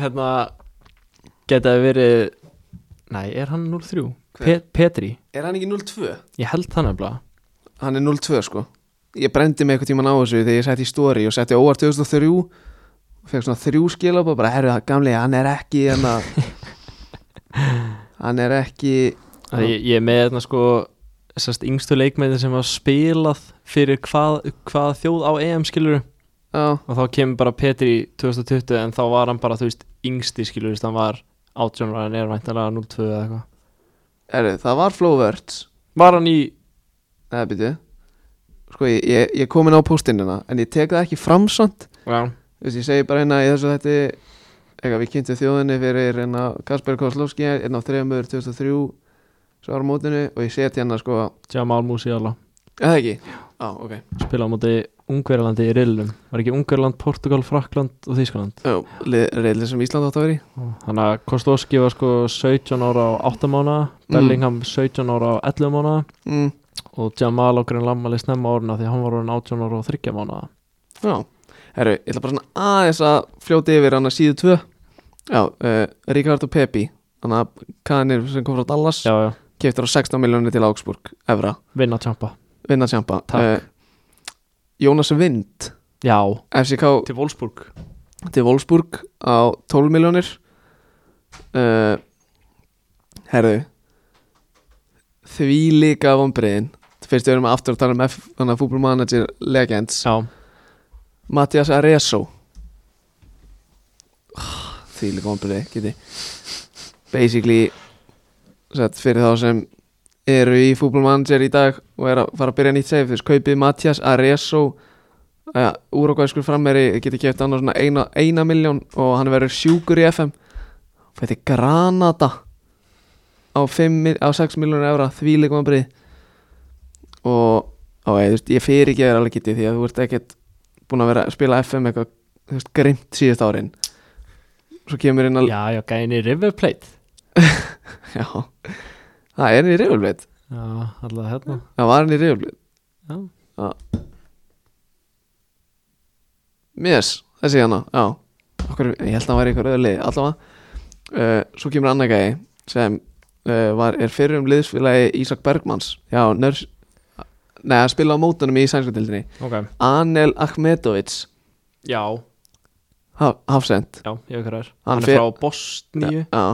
B: hérna Getaði verið Nei, er hann 03?
A: Hver?
B: Pe Petri,
A: Er hann ekki 0-2?
B: ég held það nefnilega
A: Hann er 0-2 sko Ég brendi mig eitthvað tíman á þessu þegar ég setti í story og setti óvart 2003 og fekk svona þrjú skilabóð bara herru það gamli, hann er ekki hérna hann er ekki
B: Það ég, ég er með þarna sko Sest yngstu leikmæðin sem var spilað Fyrir hvað, hvað þjóð á EM skilur
A: á,
B: Og þá kemur bara Petri 2020 En þá var hann bara, þú veist, yngsti skilur Þannig hann var 18 ára en er væntanlega 02 eða eitthvað
A: herru, það var Flowverts
B: Var hann í
A: eða byrju sko ég, ég, ég komin á póstinnina en ég tek það ekki framsamt
B: Já,
A: Þú veist, ég segi bara hérna í þessu þetta eitthvað við kynntum þjóðinni fyrir hérna Kasper Kozlovski einn á þremur 2003 svo ára mótinu og ég seti hérna sko
B: Jamal Musiala
A: eða ekki, á ok
B: Spilaði á móti Ungverjalandi í reilum Var ekki Ungverjaland, Portugal, Frakland og Þýskaland
A: reyðli sem Ísland átt að vera í
B: Þannig að Kostovski var sko 17 ára á 8 mánu Bellingham 17 ára á 11 mánu
A: mm.
B: og Jamal á grinn lammali snemma árna því að hann var orðin 18 ára á 30 mánu
A: já, herru, ég ætla bara svona aðeins að fljóti yfir hann að síðu eh, tvö já, uh, Ricardo Pepi hann að kanir sem kom frá Dallas
B: Já, já,
A: keftur á 16 miljónir til Augsburg, Evra,
C: vinna tjampa
A: vinna tjampa
C: Takk.
A: Jónas Vind
C: Já,
A: FCK
B: Til Wolfsburg
A: til Wolfsburg á 12 miljónir uh, Herðu Því líka vombriðin Fyrst við erum aftur að tala um F, þannig að Football Manager Legends
C: já,
A: Mattias Areso Ah, Því líka vombriði geti Basically sett, fyrir þá sem eru í Football Manager í dag og er að fara að byrja nýtt save þú veist, kaupið Mattias Areso uh, úrokvæskur frammeri geti kæft annars svona eina, eina miljón og hann verður sjúkur í FM og þetta er Granada á, 5, á 6 miljónur evra þvíleikum að brið og á, ég, þú veist, ég fyrir ekki að vera alveg getið því að þú ert ekkert búin að vera að spila FM eitthvað þú veist, grimt síðust árin svo kemur inn að
C: já, já, gæðin í River Plate
A: já, það er hann í reyfulblit
C: Já, alltaf hérna
A: það var hann í reyfulblit
C: Já,
A: Yes, þessi hana, já Okkur, Ég held að hann væri í ykkur öðru liði, allavega uh, Svo kemur annar gæði sem uh, var, er fyrrum liðsfélagi Ísak Bergmans Já, nörs Nei, að spila á mótunum í sænskatildinni
B: Ok
A: Anel Akhmetovic
B: Já,
A: haf- Hafsend
B: já, ég veit hvað það er
A: Hann
B: Hann
A: fer-
B: er frá Bosníu
A: Já,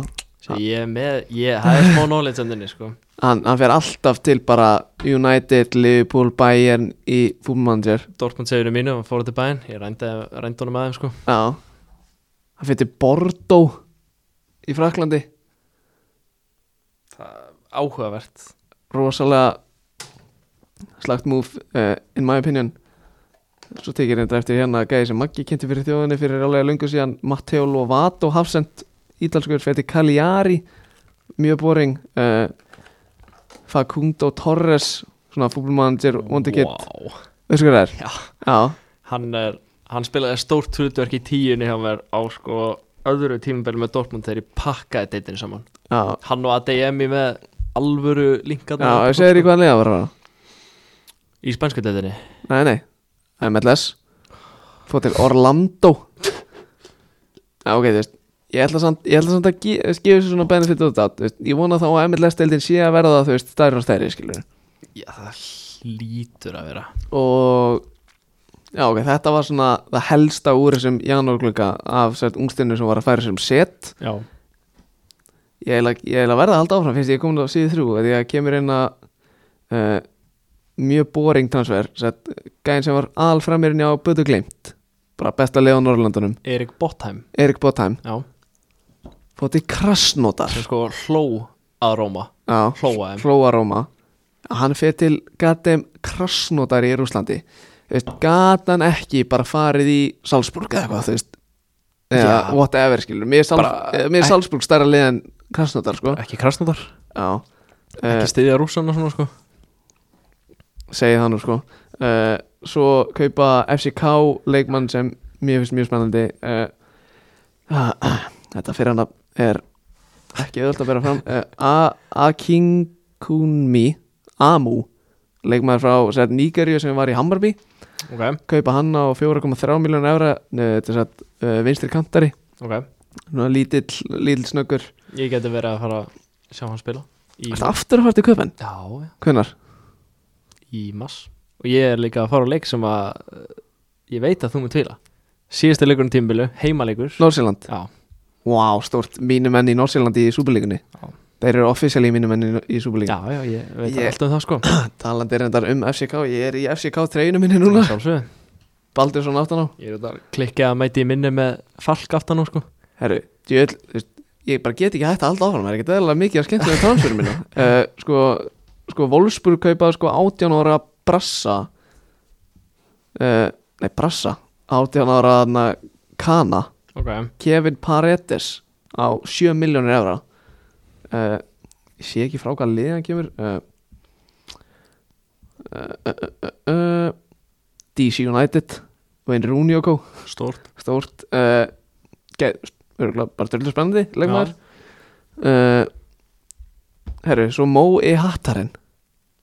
B: Svo ég er með, ég, það er smá knowledge endinni sko
A: hann, hann fer alltaf til bara United, Liverpool, Bayern í fútbolmanager
B: Dortmund segir um mínu, hann fór til bæinn Ég rændi, rændi honum aðeins sko
A: Já Hann fyrir til Bordeaux í Fraklandi
B: Áhugavert
A: rosalega slagt move uh, in my opinion svo tekir þetta eftir hérna gæði sem Maggi kynnti fyrir þjóðinni fyrir alveg lungu síðan Matteo Lovato hafsend ítalskur fyrir Cagliari mjög boring uh, Facundo Torres svona fútbolmanager wonderkid wow.
B: Vá.
A: veistu hvað það er?
B: Já.
A: Já,
B: hann er hann spilaði stórt hlutverk í tíunni hjá mér á sko öðru tímabili með Dortmund þegar ég pakkaði deitinu saman
A: já,
B: hann og ADMI með alvöru
A: já,
B: linkarna
A: ég segir í hvaða liða Hérna var það
B: í spænsku deitinni
A: Nei, nei, MLS Fóð til Orlando Já, ok, þú veist Ég ætla samt, ég ætla samt að ge- þú veist, gefa þessu svona benefit út að veist, Ég vona þá að MLS-deildin sé að verða þú veist, stærri og stærri, skilur
B: já það hlýtur að vera
A: Og Já, ok, þetta var svona það helsta úr þessum janúrglunga af sért ungstinnu sem var að færa sem set
C: já,
A: Ég ætla, ég ætla að verða að halda áfram fyrst ég er komin á síðu þrjú af því að kemur inn að uh, mjög boring transfer sett, gæðin sem var alframirinn á Bötu Glimt bara besta leið á Norrlandunum
B: Erik Bottheim
A: Erik Botheim
B: já
A: fótt í Krasnodar
B: sem sko hló að Róma
A: Já,
B: hlóa þeim
A: Flóa Róma hann fer til gatum Krasnodar í Rúslandi gat hann ekki bara farið í Salzburg eða eitthvað þú veist eða
B: Já.
A: whatever skilur mér er, Sal
B: Bara-
A: eh, mér er Salzburg stærra leið en Krasnodar sko
B: ekki krasnodar
A: Já Eh.
B: ekki stiðja rússana svona sko
A: segið það nú sko uh, svo kaupa FCK leikmann sem mér finnst mjög spennandi uh, þetta fyrir hann er ekki öðvöld að bera fram uh, Akinkunmi Amu leikmann frá sér, Nígeríu sem var í Hammarby
B: ok
A: kaupa hann á 4,3 miljónu evra uh, til að uh, vinstri kantari
B: ok
A: Svona lítill, lítill snöggur
B: ég geti verið að fara að sjá hann spila í
A: Ertu aftur að fara til köpen?
B: já já
A: Hvenær?
B: í mass og ég er líka að fara á leik sem að eh, ég veit að þú mun tvila síðasta leikurinn tímbilu, heimaleikur
A: Nórsjöland?
B: já,
A: Vá, stórt mínu menn í Nórsjöland í Súbulíkunni
B: Já.
A: Þeir eru offisíali mínu menn í- í Súbulíkunni
B: já, já, ég veit
A: Ég-
B: allt um það sko
A: Talandi reyndar um FCK, ég er í FCK treyjunum minni núna
B: Sjálfsögðu.
A: Baldur svona aftan á
B: ég er út að klikka að mæti í minni með falk aftan á sko
A: Herru, djöl, þú veist, ég bara get ekki hægt að halda áfram Það er ekki eðalega mikið að skemmtilega transferum minna uh, Sko, sko, Wolfsburg kaupaði sko 18 ára brassa uh, Nei, brassa 18 ára na, kana
B: ok,
A: Kevin Paredes á 7 miljónir evra uh, ég sé ekki frá hvað liðan kemur uh, uh, uh, uh, uh, DC United Wayne Rooney og kó
B: stórt
A: stórt uh, geð, örugglega bara stöldur spennandi leikmaður uh, herru, svo Mo E. Hattaren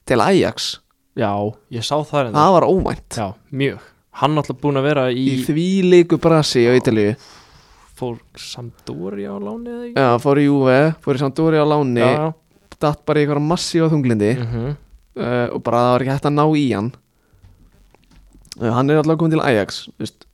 A: til Ajax
B: já, ég sá það en
A: það var óvænt
B: já, mjög hann alltaf búin að vera
A: í
B: í,
A: því líku brasi á Ítalíu
B: fór Sampdóri á láni eða ekki
A: Já, fór í UV, fór í Sampdoria á láni
B: já, já,
A: datt bara í eitthvað massífa þunglindi
B: -hmm.
A: uh, og bara það var ekki hægt að ná í hann uh, hann er alltaf komin til Ajax veist,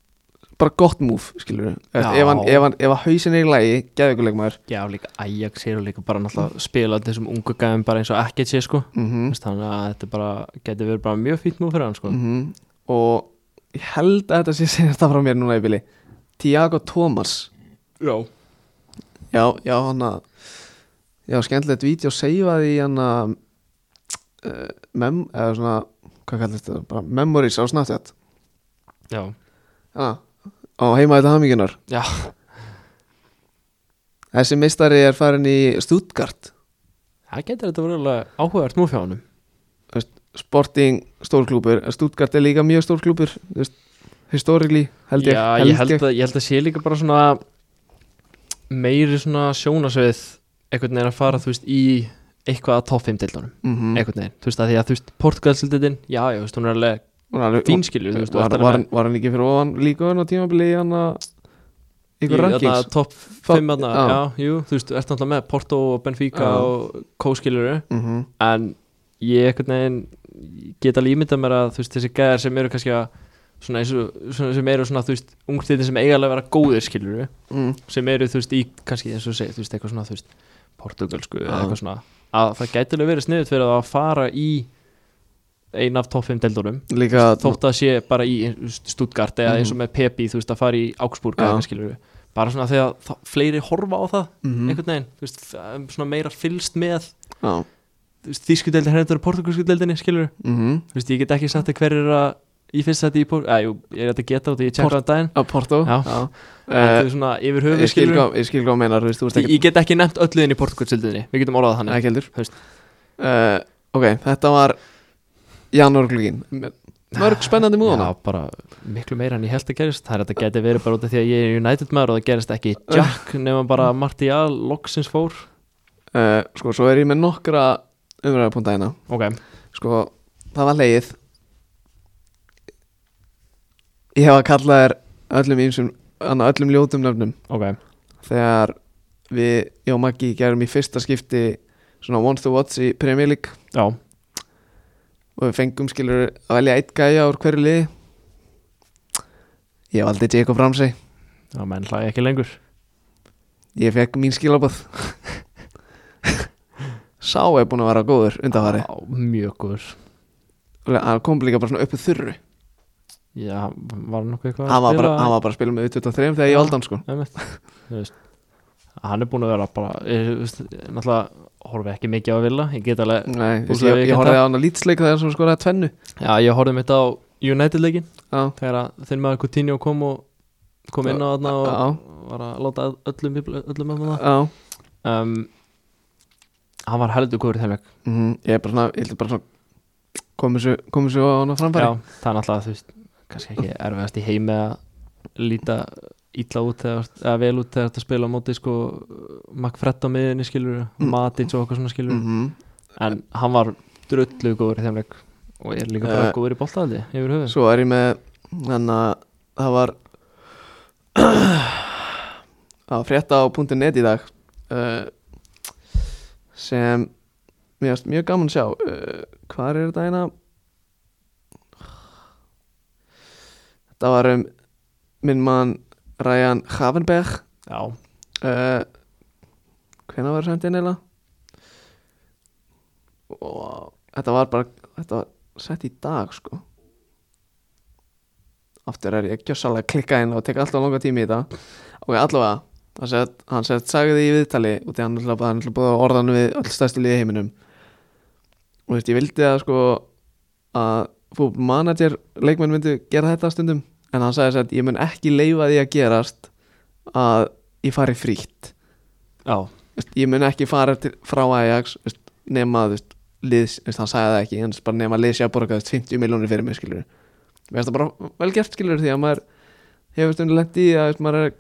A: bara gott múf skilur við
B: Já.
A: ef, hann, ef, hann, ef að hausin er í lægi, geðvikuleik maður
B: Já, líka Ajax er og líka bara náttúrulega spila þessum ungu gæðum bara eins og ekkert sé sko
A: mm Mm.
B: Þú
A: -hmm.
B: veist, Þannig að þetta bara geti verið bara mjög fýtt nú fyrir hann sko
A: Mhm. og ég held að þetta sé senast frá mér núna í bili Tiago Thomas
B: Já
A: já, já, hann að já, skemmtilegt vídeo seifaði í hann að uh, mem, eða svona, hvað kallar þetta bara memories á Snapchat
B: Já,
A: ah, á heima þetta hamingunar
B: já,
A: Þessi mistari er farin í Stuttgart
B: það getur þetta verið alveg áhugavert nú fyrir honum
A: Sporting stórklúpur Stuttgart er líka mjög stórklúpur Historikli held ég
B: Já, ég held, Að, ég held að sé líka bara svona meiri svona sjónasvið einhvern veginn að fara, þú veist, í eitthvað að top 5 deildunum,
A: Mhm.
B: einhvern veginn þú veist, að því að þú veist, Portugalsildin, já, já, þú veist, hún er alveg
A: Hún er alveg-
B: fín skilur, þú
A: Var,
B: veist, þú
A: var,
B: ert
A: var,
B: alveg
A: var hann ekki fyrir ofan líka hann á tímabili í hann að ykkur
B: í þarna
A: rankings
B: top 5 þarna,
A: Já.
B: já, jú, þú veist, þú ert náttúrulega með Porto og Benfica
A: Já.
B: og Kóskiluru,
A: Mhm.
B: en ég einhvern veginn get alveg ímyndað mér að þú veist, þessi gæðar sem eru kannski að svona eins og, svona sem eru svona, þú veist, ungstættin sem eiga alveg að vera góðir skiluru
A: mm.
B: sem eru þú veist í kannski eins og segja þú veist eitthvað svona þú veist portugalsku eða
A: Já.
B: eitthvað svona að það gæti alveg verið sniðut fyrir að fara í eina af topp 5 deildunum
A: Líka
B: þótt að sé bara í þú veist, Stuttgart eða eins og með Pepi þú veist að fara í Augsburg
A: Mhm. Já.
B: eða eitthvað skilur við bara svona þegar það, fleiri horfa á það
A: Mhm.
B: einhvern veginn þú veist f- svona meira fylst með
A: Já,
B: þísku deildin hérna og portugalsku deildinni skilur við
A: mhm.
B: þú veist ég get ekki sagt að hver er að ég finnst þetta í Port eða jú ég er þetta að geta á því ég tjekka á daginn
A: Á Porto
B: Já. en
A: Eh,
B: þú veist, svona yfir höfuð
A: Ég skil
B: skilur
A: hvað ég skil hvað þú meinar þú veist, þú veist
B: Ég,
A: ekki
B: ég get ekki nefnt ölluðin í portugalsildinni Við getum orðað þannig
A: ekki heldur
B: Þú veist.
A: Eh, Ok, þetta var janúarglugin Mörg spennandi múðana
B: Já, bara miklu meira en ég held að gerist Það er að þetta geti verið bara út af því að ég er United maður og það gerist ekki Jack nema bara Martial loksins fór
A: uh, sko, svo er ég með nokkra umræðapunta hérna
B: Ok,
A: sko, það var leið ég hef að kalla þér öllum ímsum, annað öllum ljótum nöfnum
B: ok
A: þegar við, ég og Maggi gerum í fyrsta skipti svona once to watch í Premier League
B: Já,
A: og við fengum skilur að velja eitt gæja úr hverju liði ég valdi Jacob Ramsey
B: já menn hlæði ekki lengur
A: ég fekk mín skilabóð sá er búin að vera góður undanfari
B: Já, Mjög góður
A: hann kom líka bara svona uppu þurru
B: Já, var nokkuð eitthvað
A: hann var, bara, hann var bara að spila með U23 þegar ég
B: Já.
A: valdi hann sko
B: bara Þú veist Hann er búin að vera bara ég, þú veist, Náttúrulega horfi ekki mikið á Villa Ég get alveg
A: Nei,
B: Þú
A: ég,
B: sagði
A: ég,
B: ekki
A: ég horfði
B: það?
A: á hann að lýtsleik þegar hann skoraði tvennu
B: Já, ég horfði mitt á United-leikin
A: Já,
B: þegar að þinn maður Coutinho kom og kom inn á þarna og
A: já,
B: var að láta öllum öllum með það
A: já
B: um, hann var heldur góður í þeim leik
A: Mhm, Ég er bara svona, ég heldur bara svona komið svo, komið svo á hann að
B: já,
A: framfæri
B: það er náttúrulega þú veist kannski ekki erfiðast í heimi að líta illa út þegar, eða vel út þegar þetta spila á móti sko Macfrett á miðinni skilur
A: Mm.
B: mm. Matic og eitthvað svona skilur
A: Mhm.
B: en hann var drullu góður í þeim leik og er líka bara
A: Eh.
B: góður í boltaðaldi yfir höfuð
A: Svo er ég með hann að það var að frétta á .net í dag uh, sem mér finnst mjög gaman að sjá uh, hvar er þetta hérna? eina þetta var um minn mann Ryan Havenberg
B: já,
A: uh, hvenær var sendin eila og þetta var bara þetta var sett í dag sko aftur er ég gjössalega að klikka inn og tek alltaf langa tími í þetta ok, allavega hann sett, hann sett sagði í viðtali og því hann er alltaf hann er alltaf búið að orðan við öll stærstu liði í heiminum og þú veist, ég vildi að sko að fútbol manager leikmenn myndi gera þetta stundum en hann sagði að ég mun ekki leifa því að gerast að ég fari frítt
B: já,
A: Veist, ég mun ekki fara til, frá Ajax veist, nema veist, liðs, veist, hann sagði það ekki en bara nema liðs ég að borga veist, 50 miljónir fyrir mig skilur mér finnst það bara vel gert skilur því að maður hefur stundu lent í því að veist, maður er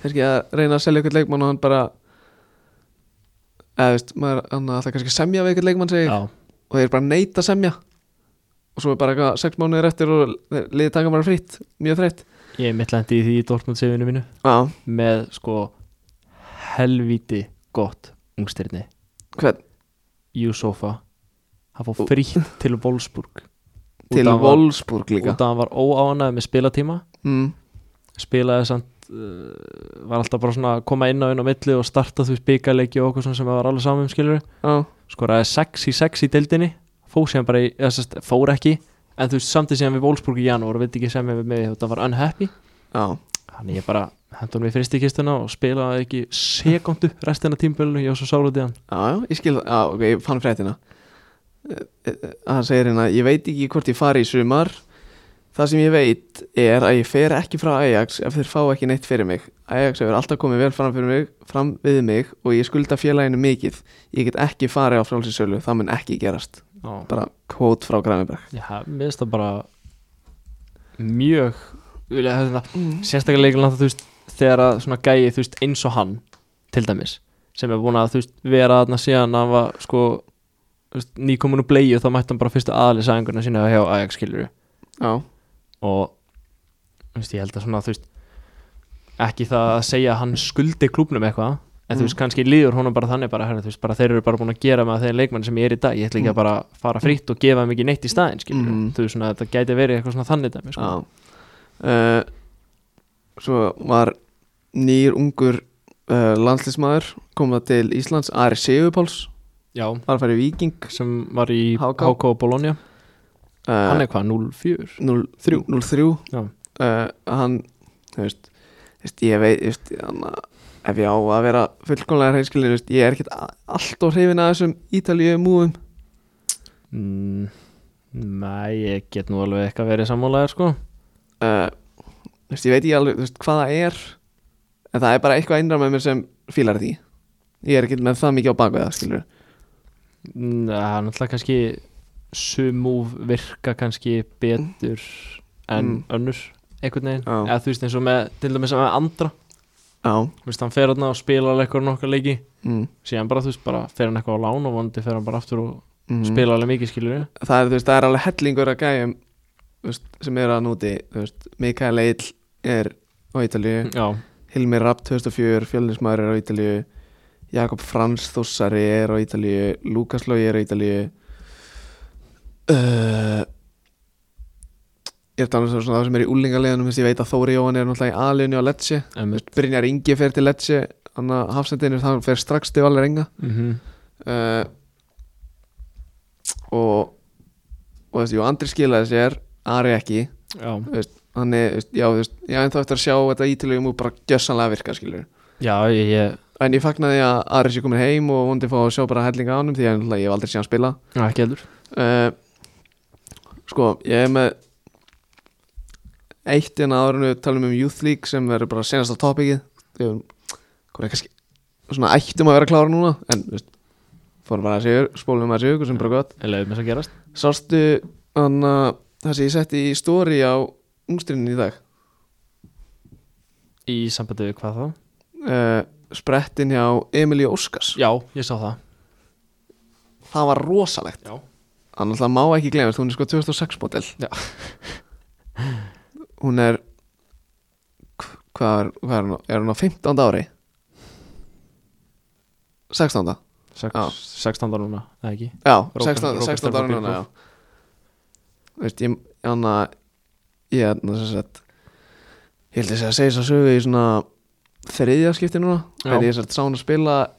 A: kannski að reyna að selja ykkur leikmann og hann bara eða veist maður hann alltaf kannski að semja við ykkur leikmann segir
B: já,
A: og þeir bara neita að semja og svo er bara eitthvað sex mánuðir eftir og þeir- liðið taka bara frítt, mjög þreytt
B: ég er mittlendi í því í Dortmund-sefinu mínu
A: Já,
B: með sko helvíti gott ungstyrni
A: hvern?
B: Júsofa hann fór frítt til Wolfsburg Út
A: Til
B: af að-
A: Wolfsburg
B: út
A: líka
B: af að hann var óánægð með spilatíma
A: mm.
B: spilaði samt uh, var alltaf bara svona að koma inn á inn á milli og starta því spikaleiki og okkur svona sem var alveg saman um skilur
A: Já,
B: skoraði 6 í 6 í deildinni fór síðan bara í, eða sérst, fór ekki en þú veist samtidig síðan við Wolfsburg í janúar og veit ekki sem við með þetta var unhappy
A: já
B: þannig ég bara hendur hann við fristikistuna og spilaði ekki sekundu restina tímbölinu ég var svo sálut í hann
A: Já, já, ég skil það, já, ok, ég fann fréttina Eh, Það segir hérna Ég veit ekki hvort ég fari í sumar Það sem ég veit er að ég fer ekki frá Ajax ef þeir fá ekki neitt fyrir mig Ajax hefur alltaf komið vel fram fyrir mig fram við mig og ég skulda félaginu mikið Ég get ekki farið á frálsinsölu það mun ekki gerast,
B: Já.
A: bara kvót frá Græmiberg
C: Já,
B: mér finnst það bara mjög vilja, þetta, sérstaklega leikilega þú veist þegar að svona gæi þú veist eins og hann til dæmis sem er búin að þú veist vera þarna síðan hann var sko þú veist, nýkomin úr bleið þá mætti hann bara fyrstu aðlisæðinguna sína hjá Ajax skilur
A: Já,
B: og þú veist, ég held að svona þú veist ekki það að segja að hann skuldi klubnum eitthvað en þú veist kannski líður honum bara þannig bara, herri, þú veist, bara þeir eru bara búin að gera með þeir leikmenn sem ég er í dag, ég ætla ekki að bara fara fritt og gefa mikið neitt í staðinn skilur
A: Mhm.
B: þú veist svona þetta gæti verið eitthvað svona þannig dæmi sko.
A: Já uh, Svo var nýr ungur uh, landslísmaður kom það til Íslands, Ari Sigurpáls
B: já,
A: var að fara í Viking
B: sem var í
A: HK.
B: HK, og Bologna
A: uh,
B: hann er hvað, 0-4
A: 03 03
B: Já.
A: uh, hann þú veist, þú veist ég veit þú veist, hann, ef ég á að vera fullkomlega hreinskilin veist, ég er ekkert a- allt og hrifin að þessum ítalíu múum
B: mm, nei, ég get nú alveg eitthvað verið sammálaðir sko
A: uh, þú veist, ég veit ég alveg þú veist, hvað það er en það er bara eitthvað einra með mér sem fílar því ég er ekkert með það mikið á bakveða skilur
B: Mm, Það er náttúrulega kannski sumúf virka kannski betur en
A: Mm.
B: önnur einhvern veginn,
A: Já.
B: eða þú veist eins og með til dæmis með andra,
A: já
B: þú veist hann fer hann og spilar alveg eitthvað nokkar leiki,
A: mm,
B: síðan bara þú veist bara fer hann eitthvað á lán og vonandi fer hann bara aftur og
A: mm.
B: spilar alveg mikið skilur við
A: það er, þú veist, það er alveg hellingur að gæjum þú veist, sem eru að núti þú veist, Mikael Eill er á Ítalíu
B: Já,
A: Hilmir Rapp 2004, Fjölnismæður er á Ítalíu Jakob Frans Þossari er á Ítalíu Lukas Lói er á Ítalíu uh, Ég er þannig svona það sem er í úlingaleganum þess að ég veit að Þóri Jóhann er náttúrulega í aliðinu á Lecce
B: emmi
A: Brynjar Ingi fer til Lecce hann að hafsendinu þannig fer strax til Valir Enga
B: mm -hmm.
A: uh, og og þessi, jú, Andri skilaði sér Ari ekki,
B: Já,
A: hann er, þú veist, já, þú veist ég er ennþá eftir að sjá þetta ítalíum og bara gjössanlega virka, skilur
B: já, ég, ég
A: En ég fagnaði að Ari sé komin heim og vondi fá að sjá bara hellinga á honum því að náttúrulega ég hef aldrei séð hann spila
B: já, ekki heldur
A: uh, Sko, ég er með eitt en aðurinu talum um Youth League sem verður bara senasta topikið Við erum, hvað er kannski svona ættum að vera klára núna en, þú veist, fórum bara að sigur, spólum að sigur sem bara gott
B: En leiðum þess að gerast
A: Sástu hann að það sem ég setti í story á ungstrinni í dag
B: Í sambandi við hvað þá?
A: uh, Sprettin hjá Emilí Óskars
B: Já, ég sá það
A: Það var rosalegt
B: Já.
A: Hann alltaf má ekki glemast, hún er sko 2006 model
B: Já.
A: Hún er hv- Hvað er, hvað er hún? á? Er hún á 15. ári? 16.
B: Sex,
A: Já.
B: 16. núna, eða ekki
A: Já,
B: Róbert-
A: 16.
B: Róbert
A: 16
B: Stefán
A: ári núna
B: Björnsson.
A: já. Veist, ég hann að ég hann að sem sagt ég held þess að segja þess að sögu í svona þriðja skipti núna
B: Já.
A: þegar ég sem sagt sá hann að spila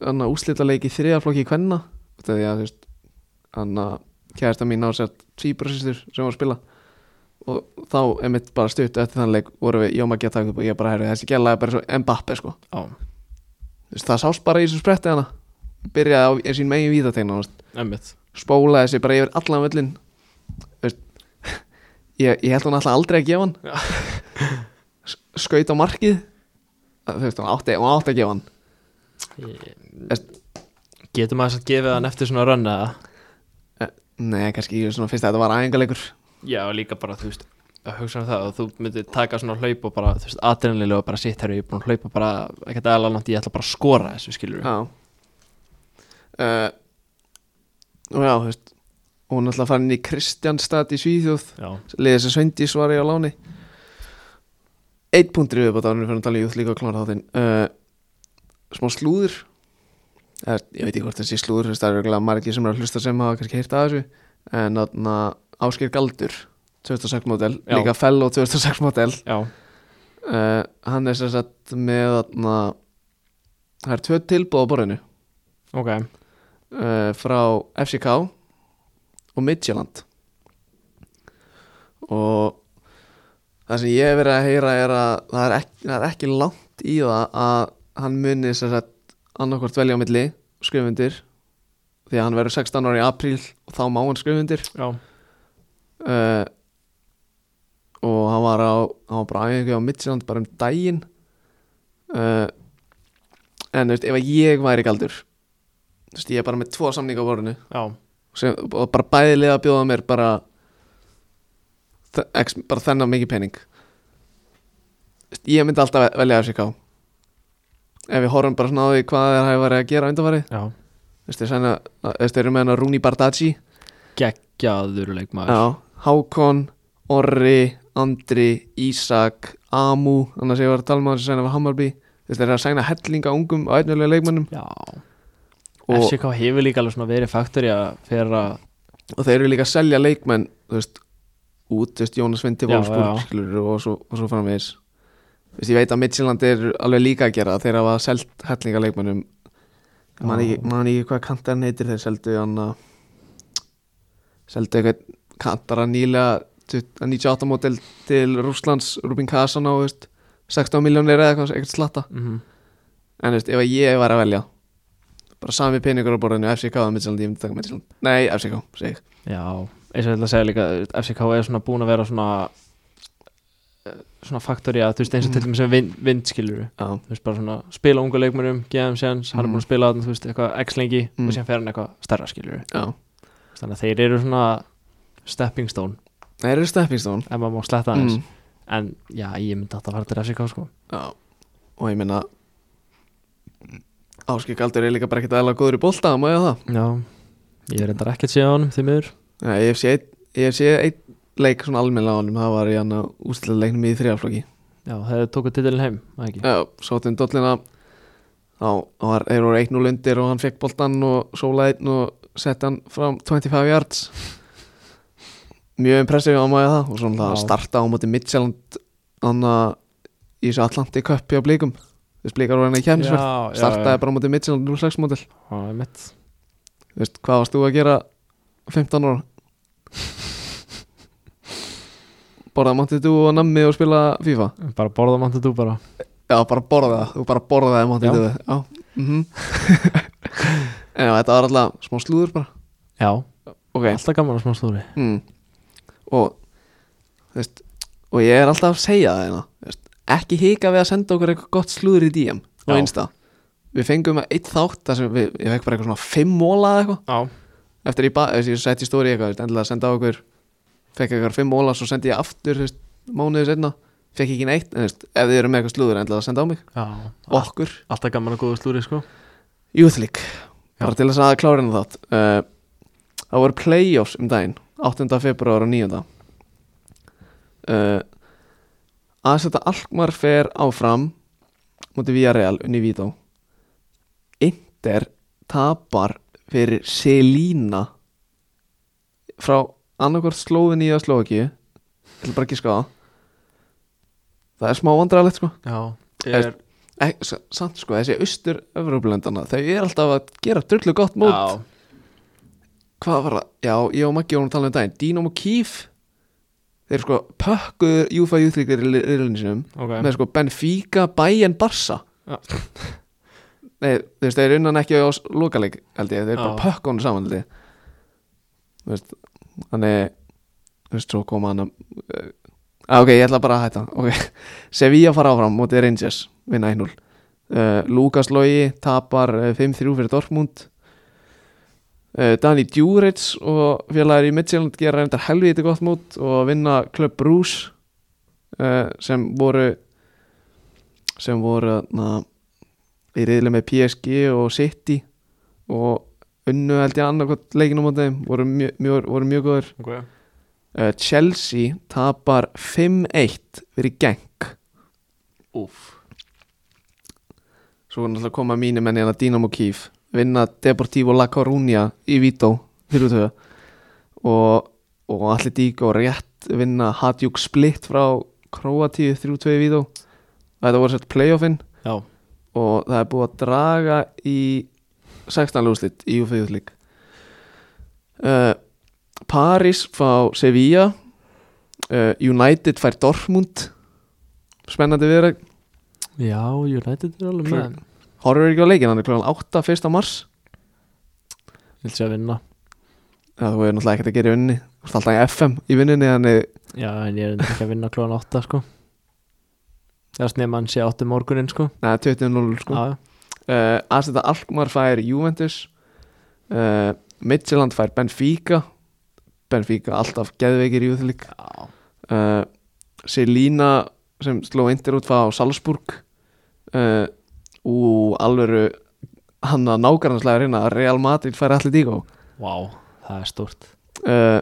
A: einn úslitaleik í þriðja flokki í kvenna þegar ég að þú veist hann að kærasta mín á sér tvíbrasistur sem var að spila og þá emitt bara stutt eftir þann leik voru við Jóma að taka upp og ég bara herri þessi gæla er bara svo Mbappe sko
B: Já,
A: Þú veist, það sást bara í þessu spretti hana byrjaði á sín megin vítategna
B: emmið
A: spólaði sér bara yfir allan völlin Veist, ég, ég held hún alltaf aldrei að gefa hann S- skaut á markið þú veist, hún átti, hún átti að gefa hann
B: Getur maður þess að gefa hann eftir svona rönn eða?
A: nei, kannski ég svona fyrst að þetta var æfingarleikur
B: Já, líka bara, þú veist að hugsa um það og þú myndir taka svona hlaup og bara, þú veist, adrenalilega og bara sitt herri, ég er búin að hlaupa bara, ekkert aðalega langt, ég ætla bara að skora þessu, skilur
A: já uh, og já, þú veist hún alltaf farin í Kristjánstad í Svíþjóð
B: Já,
A: liðið sem Sveindís var í á láni Eh, eitt punktur yfirbátt ánum fyrir að tala í júð líka klára þáttinn uh, smá slúður eða, ég veit ekki hvort það sé slúður þú veist, það er örugglega margir sem eru að hlusta sem hafa kannski heyrt að þessu en þarna Ásker Galdur 2006 model,
B: Já.
A: líka fellow 2006 model
B: já,
A: uh, hann er sem sagt með þarna það er tvö tilbúð á borðinu
B: ok
A: uh, frá FCK og Midtjaland og það sem ég hef verið að heyra er að það er ekki, það er ekki langt í það að hann muni sem sagt annarkvort velja á milli skrifundir því að hann verður 16 ára í apríl og þá má hann skrifundir
B: já,
A: uh, og hann var á hann var bara á æfingu á Midtjaland bara um daginn uh, en þú veist, ef að ég væri galdur þú veist, ég er bara með tvo samninga á vorinu
B: já,
A: sem, og bara bæði liða að bjóða mér bara þe- x, bara þennan mikið pening Þú veist, ég myndi alltaf velja FCK ef við horfum bara svona á því hvað þeir hafa verið að gera undanfari
B: já
A: þú veist, þeir sæna- þú veist, þeir eru með hennar Rúni Bardacci
B: geggjaður leikmaður
A: Já, Hákon, Orri, Andri, Ísak, Amu annars ég var að tala maður sem sæna var Hammarby þeir eru að sæna hellinga ungum og einhverlega leikmönnum
B: já,
A: og,
B: FCK hefur líka alveg svona verið faktori að fyrir að
A: og þeir eru líka að selja leikmenn þú veist, út, þú veist, Jónas Vindi
B: Já,
A: Wolfsburg
B: já.
A: skilur, og svo, og svo framvegis þú veist, ég veit að Midtjylland er alveg líka að gera það, þeir hafa selt hellinga leikmönnum man
B: Já.
A: ekki, man ekki hvað kantarinn heitir þeir seldu hann að seldu eitthvað kantara nýlega 98 mótil til Rússlands Rubin Kassan á þú veist, 16 miljónir eða eitthvað, eitthvað slatta
B: mm
A: en þú veist, ef að ég var að velja bara sami peningur á borðinu FCK eða Midtjylland, ég myndi taka Midtjylland nei, FCK, segi ég
B: já, eins og ég ætla að segja líka þú veist, FCK er svona búin að vera svona eh, svona faktori að þú veist eins og
A: Mm.
B: til dæmis sem vind, vindskilur
A: Já.
B: þú veist bara svona spila unga leikmönnum gefa þeim séns, hann er
A: Mm.
B: búin að spila þarna, þú veist eitthvað x lengi
A: Mm.
B: og síðan fer hann eitthvað starra skilur
A: Já,
B: þannig að þeir eru svona stepping stone
A: það eru stepping stone
B: ef maður má sletta aðeins
A: mm.
B: en já, ég myndi alltaf að fara til FCK sko
A: Já, og ég meina Áskik Aldur er líka bara ekkert aðlega góður í bolta, má ég það
B: já, ég er endar ekkert síðan á honum því miður
A: Nei, ég hef séð einn- ég hef séð einn leik svona almennlega á honum, það var í hann að úslega leiknum í þriðaflokki
B: já, þeir tóku titilin heim, eða ekki
A: Já, sóttum dollina þá var, þeir voru 1-0 undir og hann fekk boltan og sólaði einn og setti hann fram 25 yards mjög impressið á maður það og svona það að
B: Já.
A: starta á móti Midtjylland hann að í þessu Atlanti Cup hjá Blíkum þess Blíkar voru hann í kemnisverð
B: já,
A: startaði bara á móti Midtjylland 06 mótil
B: já, ég mitt
A: Þú veist, hvað varst þú að gera 15 ára? Borða Montidu og nammi og spila FIFA?
B: bara borða mann til þú bara
A: Já, bara borða, þú bara borðaði Montidu Já, Já. Mm En já, þetta var alltaf smá slúður bara
B: já,
A: Ok,
B: alltaf gaman að smá stóri
A: mm. og þú veist, og ég er alltaf að segja það hérna, þú veist, ekki hika við að senda okkur eitthvað gott slúður í DM og
B: Já.
A: einsta við fengum eitt þátt þar sem við, ég fekk bara eitthvað svona fimm móla eða eitthvað
B: já,
A: eftir ég, ba- þess að ég sett í stóri eitthvað þú veist, endilega að senda á okkur fekk eitthvað fimm óla svo sendi ég aftur þú veist, mánuði setna fekk ekki neitt en, þú veist, ef þið eru með eitthvað slúður endilega að senda á mig
B: já.
A: okkur
B: alltaf gaman að góða slúri sko
A: Youth League bara til þess að klára hennar þátt uh, það voru playoffs um daginn 8. februar og 9. Uh, að setja Alkmaar fer áfram mútið Villarreal unni Vító Inter tapar fyrir Selína frá annarkvort slóðin í að slóða ekki ætla bara ekki skáða það er smá vandræðalegt sko
B: já,
A: Ég er- Ek, s- samt sko, þessi austur Evrópulöndana, þau eru alltaf að gera drullu gott mót,
B: já,
A: hvað var það? Já, ég og Maggi vorum að tala um daginn, Dínamo Kíf þeir sko pökkuður Júfa Júþryggur í riðlunni sinum
B: ok
A: með sko Benfica, Bayern, Barca
B: Já.
A: Nei, þú veist, þeir unnan ekki á s- lokaleik held ég, þeir
B: Já.
A: bara pökk honum saman held ég þú veist, þannig þú veist, svo koma hann að ah, ok, ég ætla bara að hætta ok, Sevilla fara áfram mótið Rangers vinna 1-0 uh, Lukas Logi tapar eh, 5-3 fyrir Dortmund uh, Dani Djuric og félagar í Midtjylland gera reyndar helviti gott mót og vinna Club Bruce uh, sem voru sem voru na, í reyðlega með PSG og City og unnu held ég annarkot leikinu á þeim voru mjög, mjög, voru mjög góður
B: ok
A: uh, Chelsea tapar 5-1 fyrir Genk
B: Úf,
A: svo voru náttúrulega að koma mínu menni hérna Dynamo Kiev vinna Deportivo La Coruña í Vító 4-2 og, og allir dík og rétt vinna Hadjuk Split frá Kroatíu 3-2 í Vító þetta voru sett playoffin
B: Já,
A: og það er búið að draga í 16 lúslit í Ufeyðut lík uh, Paris fá Sevilla uh, United fær Dortmund spennandi viðra
B: já, United er alveg
A: Klár.
B: með Ég
A: horfur ekki á leikin, hann er kl. 8 1. mars
B: vil sé að vinna
A: Já, þú hefur náttúrulega ekkert að gera í vinninni Þú ert alltaf í FM í vinninni Þannig,
B: Já, en ég er ekki að vinna klóðan 8 sko Það er snið mann sé 8 morgunin sko
A: neða, 20-0 sko.
B: Já,
A: uh, Aseta Alkmaar fær Juventus uh, Midtjylland fær Benfica Benfica alltaf geðveikir í útlík
B: já
A: uh, Selina sem sló eindir út fá Salzburg uh, og alvöru hann að nákvæmlega reyna Real Madrid fær allir dígó
B: Vá, það er stórt
A: uh,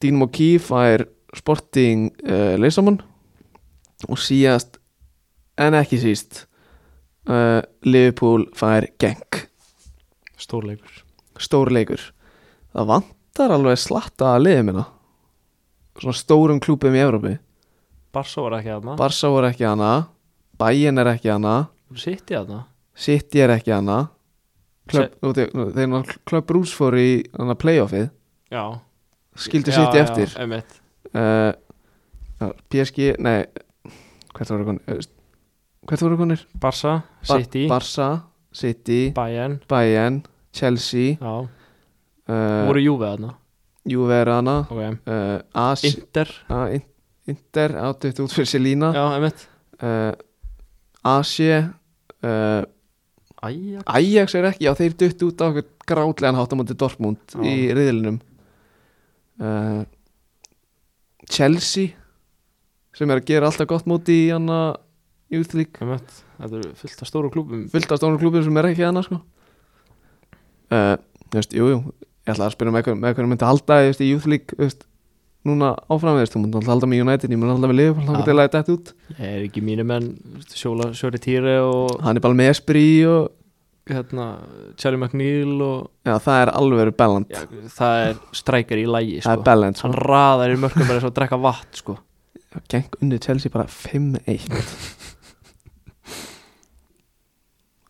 A: Dínum og Kíf fær Sporting uh, Leysamann og síðast en ekki síst uh, Liverpool fær Genk
B: Stórleikur
A: stórleikur það vantar alveg slatta að liðið minna svona stórum klúpum í Evrópi
B: Barso var ekki aðna
A: Barsa voru ekki hana Bayern er ekki hana
B: Sitt í aðna
A: City er ekki hana Klub, nú, þeir, nú, þeir ná Klub Brús fór í hana playoffið
B: Já
A: skildu
B: Já,
A: City
B: já,
A: eftir
B: einmitt.
A: uh, já, PSG, nei hvert voru konir hvert voru konir?
B: Barsa, City,
A: Barça, City,
B: Bayern
A: Bayern Chelsea
B: Já,
A: uh,
B: voru Juve aðna
A: Júverana
B: Ok,
A: uh, As,
B: Inter
A: uh, in, Inter áttuðt út fyrir Selina
B: Já, einmitt
A: uh, Asie uh,
B: Æja
A: Ajax er ekki, já þeir dutt út á okkur grátlegan hátamóti Dortmund
B: Já.
A: í riðlinum uh, Chelsea sem er að gera alltaf gott móti í hana Youth League
B: Einmitt Þetta eru fullt af stóru klubum
A: fullt af stónum klubum sem er ekki hana sko. uh, þú veist, jú, jú ég ætla að spyrja um með hvernig hver myndi halda þú veist, í Youth League þú veist, núna áfram þú veist, þú myndi alltaf halda með United ég myndi alltaf með Liverpool, hann
B: Já.
A: geti að þetta út
B: Ég er ekki mínu menn Sjóla, Sjóri Týri og
A: hann er bara með Espri og
B: hérna, Charlie McNeil og
A: já, það er alveg verið belland
B: já, það er strækar í lægi
A: það er
B: sko.
A: belland,
B: hann raðar í mörgum bara svo að drekka vatn sko.
A: geng undir Chelsea bara 5-1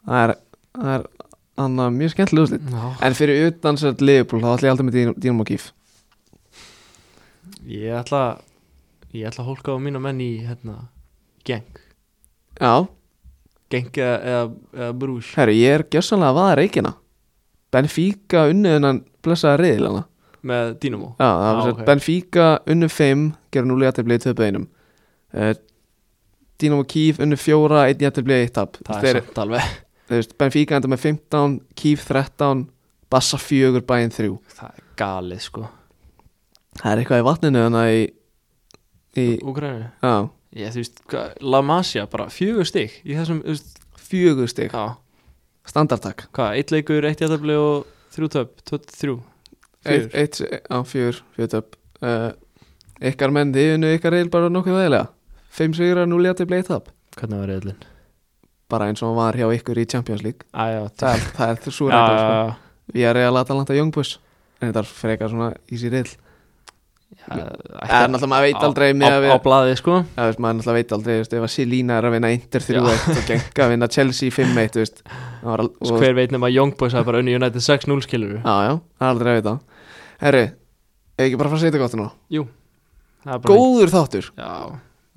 A: það er það er annað mjög skemmtileg úrslit en fyrir utan sér að Liverpool þá ætla ég alltaf með Dín- Dínamo Kíf
B: ég ætla ég ætla að hólka á mínu menn í hérna, geng
A: já,
B: geng eða, eða, eða brús
A: herru, ég er gjössanlega að vaða reikina Benfica unnu unnan blessaða reyðilana
B: með Dynamo
A: já, það
B: Já,
A: var sér
B: ok.
A: okay. Benfica unnu 5 gerur 0 jættiblið 2 beinum uh, Dínamo Kíf unnu 4 1 jættiblið 1 tap
B: það
A: Þeir-
B: er samt alveg
A: þú veist, Benfica enda með 15 Kíf 13, Bassa 4 Bæinn 3
B: það er galið sko
A: Það er eitthvað í vatninu þannig í, í
B: Úgræni
A: á,
B: ég þú veist hva, La Masia bara fjögur stygg í þessum þú veist
A: fjögur stig
B: já
A: standartak
B: hvað eitt leikur eitt jættabli og þrjú töp tvö- þrjú Fjögur.
A: eitt, eitt, á, fjögur, fjögur töp uh, ykkar menn, þið unnu ykkar reyl bara nokkuð þægilega 5 sigrar, 0 jætti bleið tap
B: hvernig var reyðlin
A: bara eins og hann var hjá ykkur í Champions League
B: aðja
A: það er, það er svo
B: já,
A: reyndar sko.
B: já,
A: við erum reyla Atalanta Young Boys en þetta er frekar svona í sér reyl
B: já, já,
A: en alltaf maður veit aldrei með að
B: á,
A: við
B: á blaði sko
A: Já, veist, maður náttúrulega veit aldrei, þú veist, ef að Selina er að vinna Inter 3-1 og Genka að vinna Chelsea 5-1, þú veist það var al-
B: Svo hver veit nema að Young Boys hafa bara unni United 6-0 skilur
A: Já, já, það er aldrei að vita Herri, ef ekki bara að fara að setja gott nú
B: Jú það er bara-
A: Góður þáttur,
B: Já,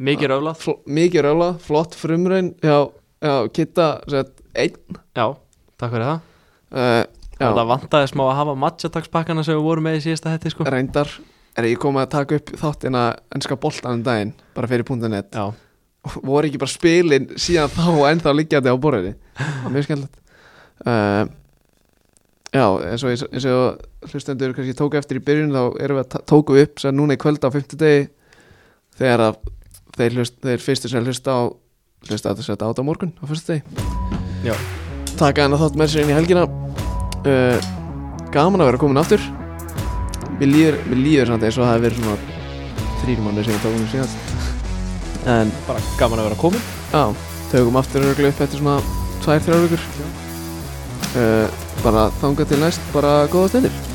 B: mikið röflað
A: Fl mikið röla, flott frumraun Já, já, kitta, sett, einn
B: Já, takk fyrir það
A: uh,
B: Það
A: Já,
B: vantaði smá að hafa matchatagspakkana sem við vorum með í síðasta hætti sko
A: reyndar Er ég komið að taka upp þáttina ennska boltan um daginn, bara fyrir .net
B: Já,
A: Voru ekki bara spilin síðan þá og ennþá liggjandi á borðinni Það var Mjög skemmtilegt uh, Já, eins og, ég- eins og hlustendur kannski tók eftir í byrjun þá erum við að ta- tóku upp sem núna í kvöld á 50 degi þegar að þeir, hlust, þeir fyrstu sem hlusta á hlusta að þetta át á morgun á fyrstu degi
B: Já.
A: Taka hann að þátt með sér inn í helgina uh, Gaman að vera komin aftur Mér líður, mér líður samt eins og það hefur verið svona þrýr mánu sem við tókum við síðast En
B: bara gaman að vera komin
A: Já, tökum aftur örglu upp eftir svona 2-3 vikur uh, bara þanga til næst bara góða stundir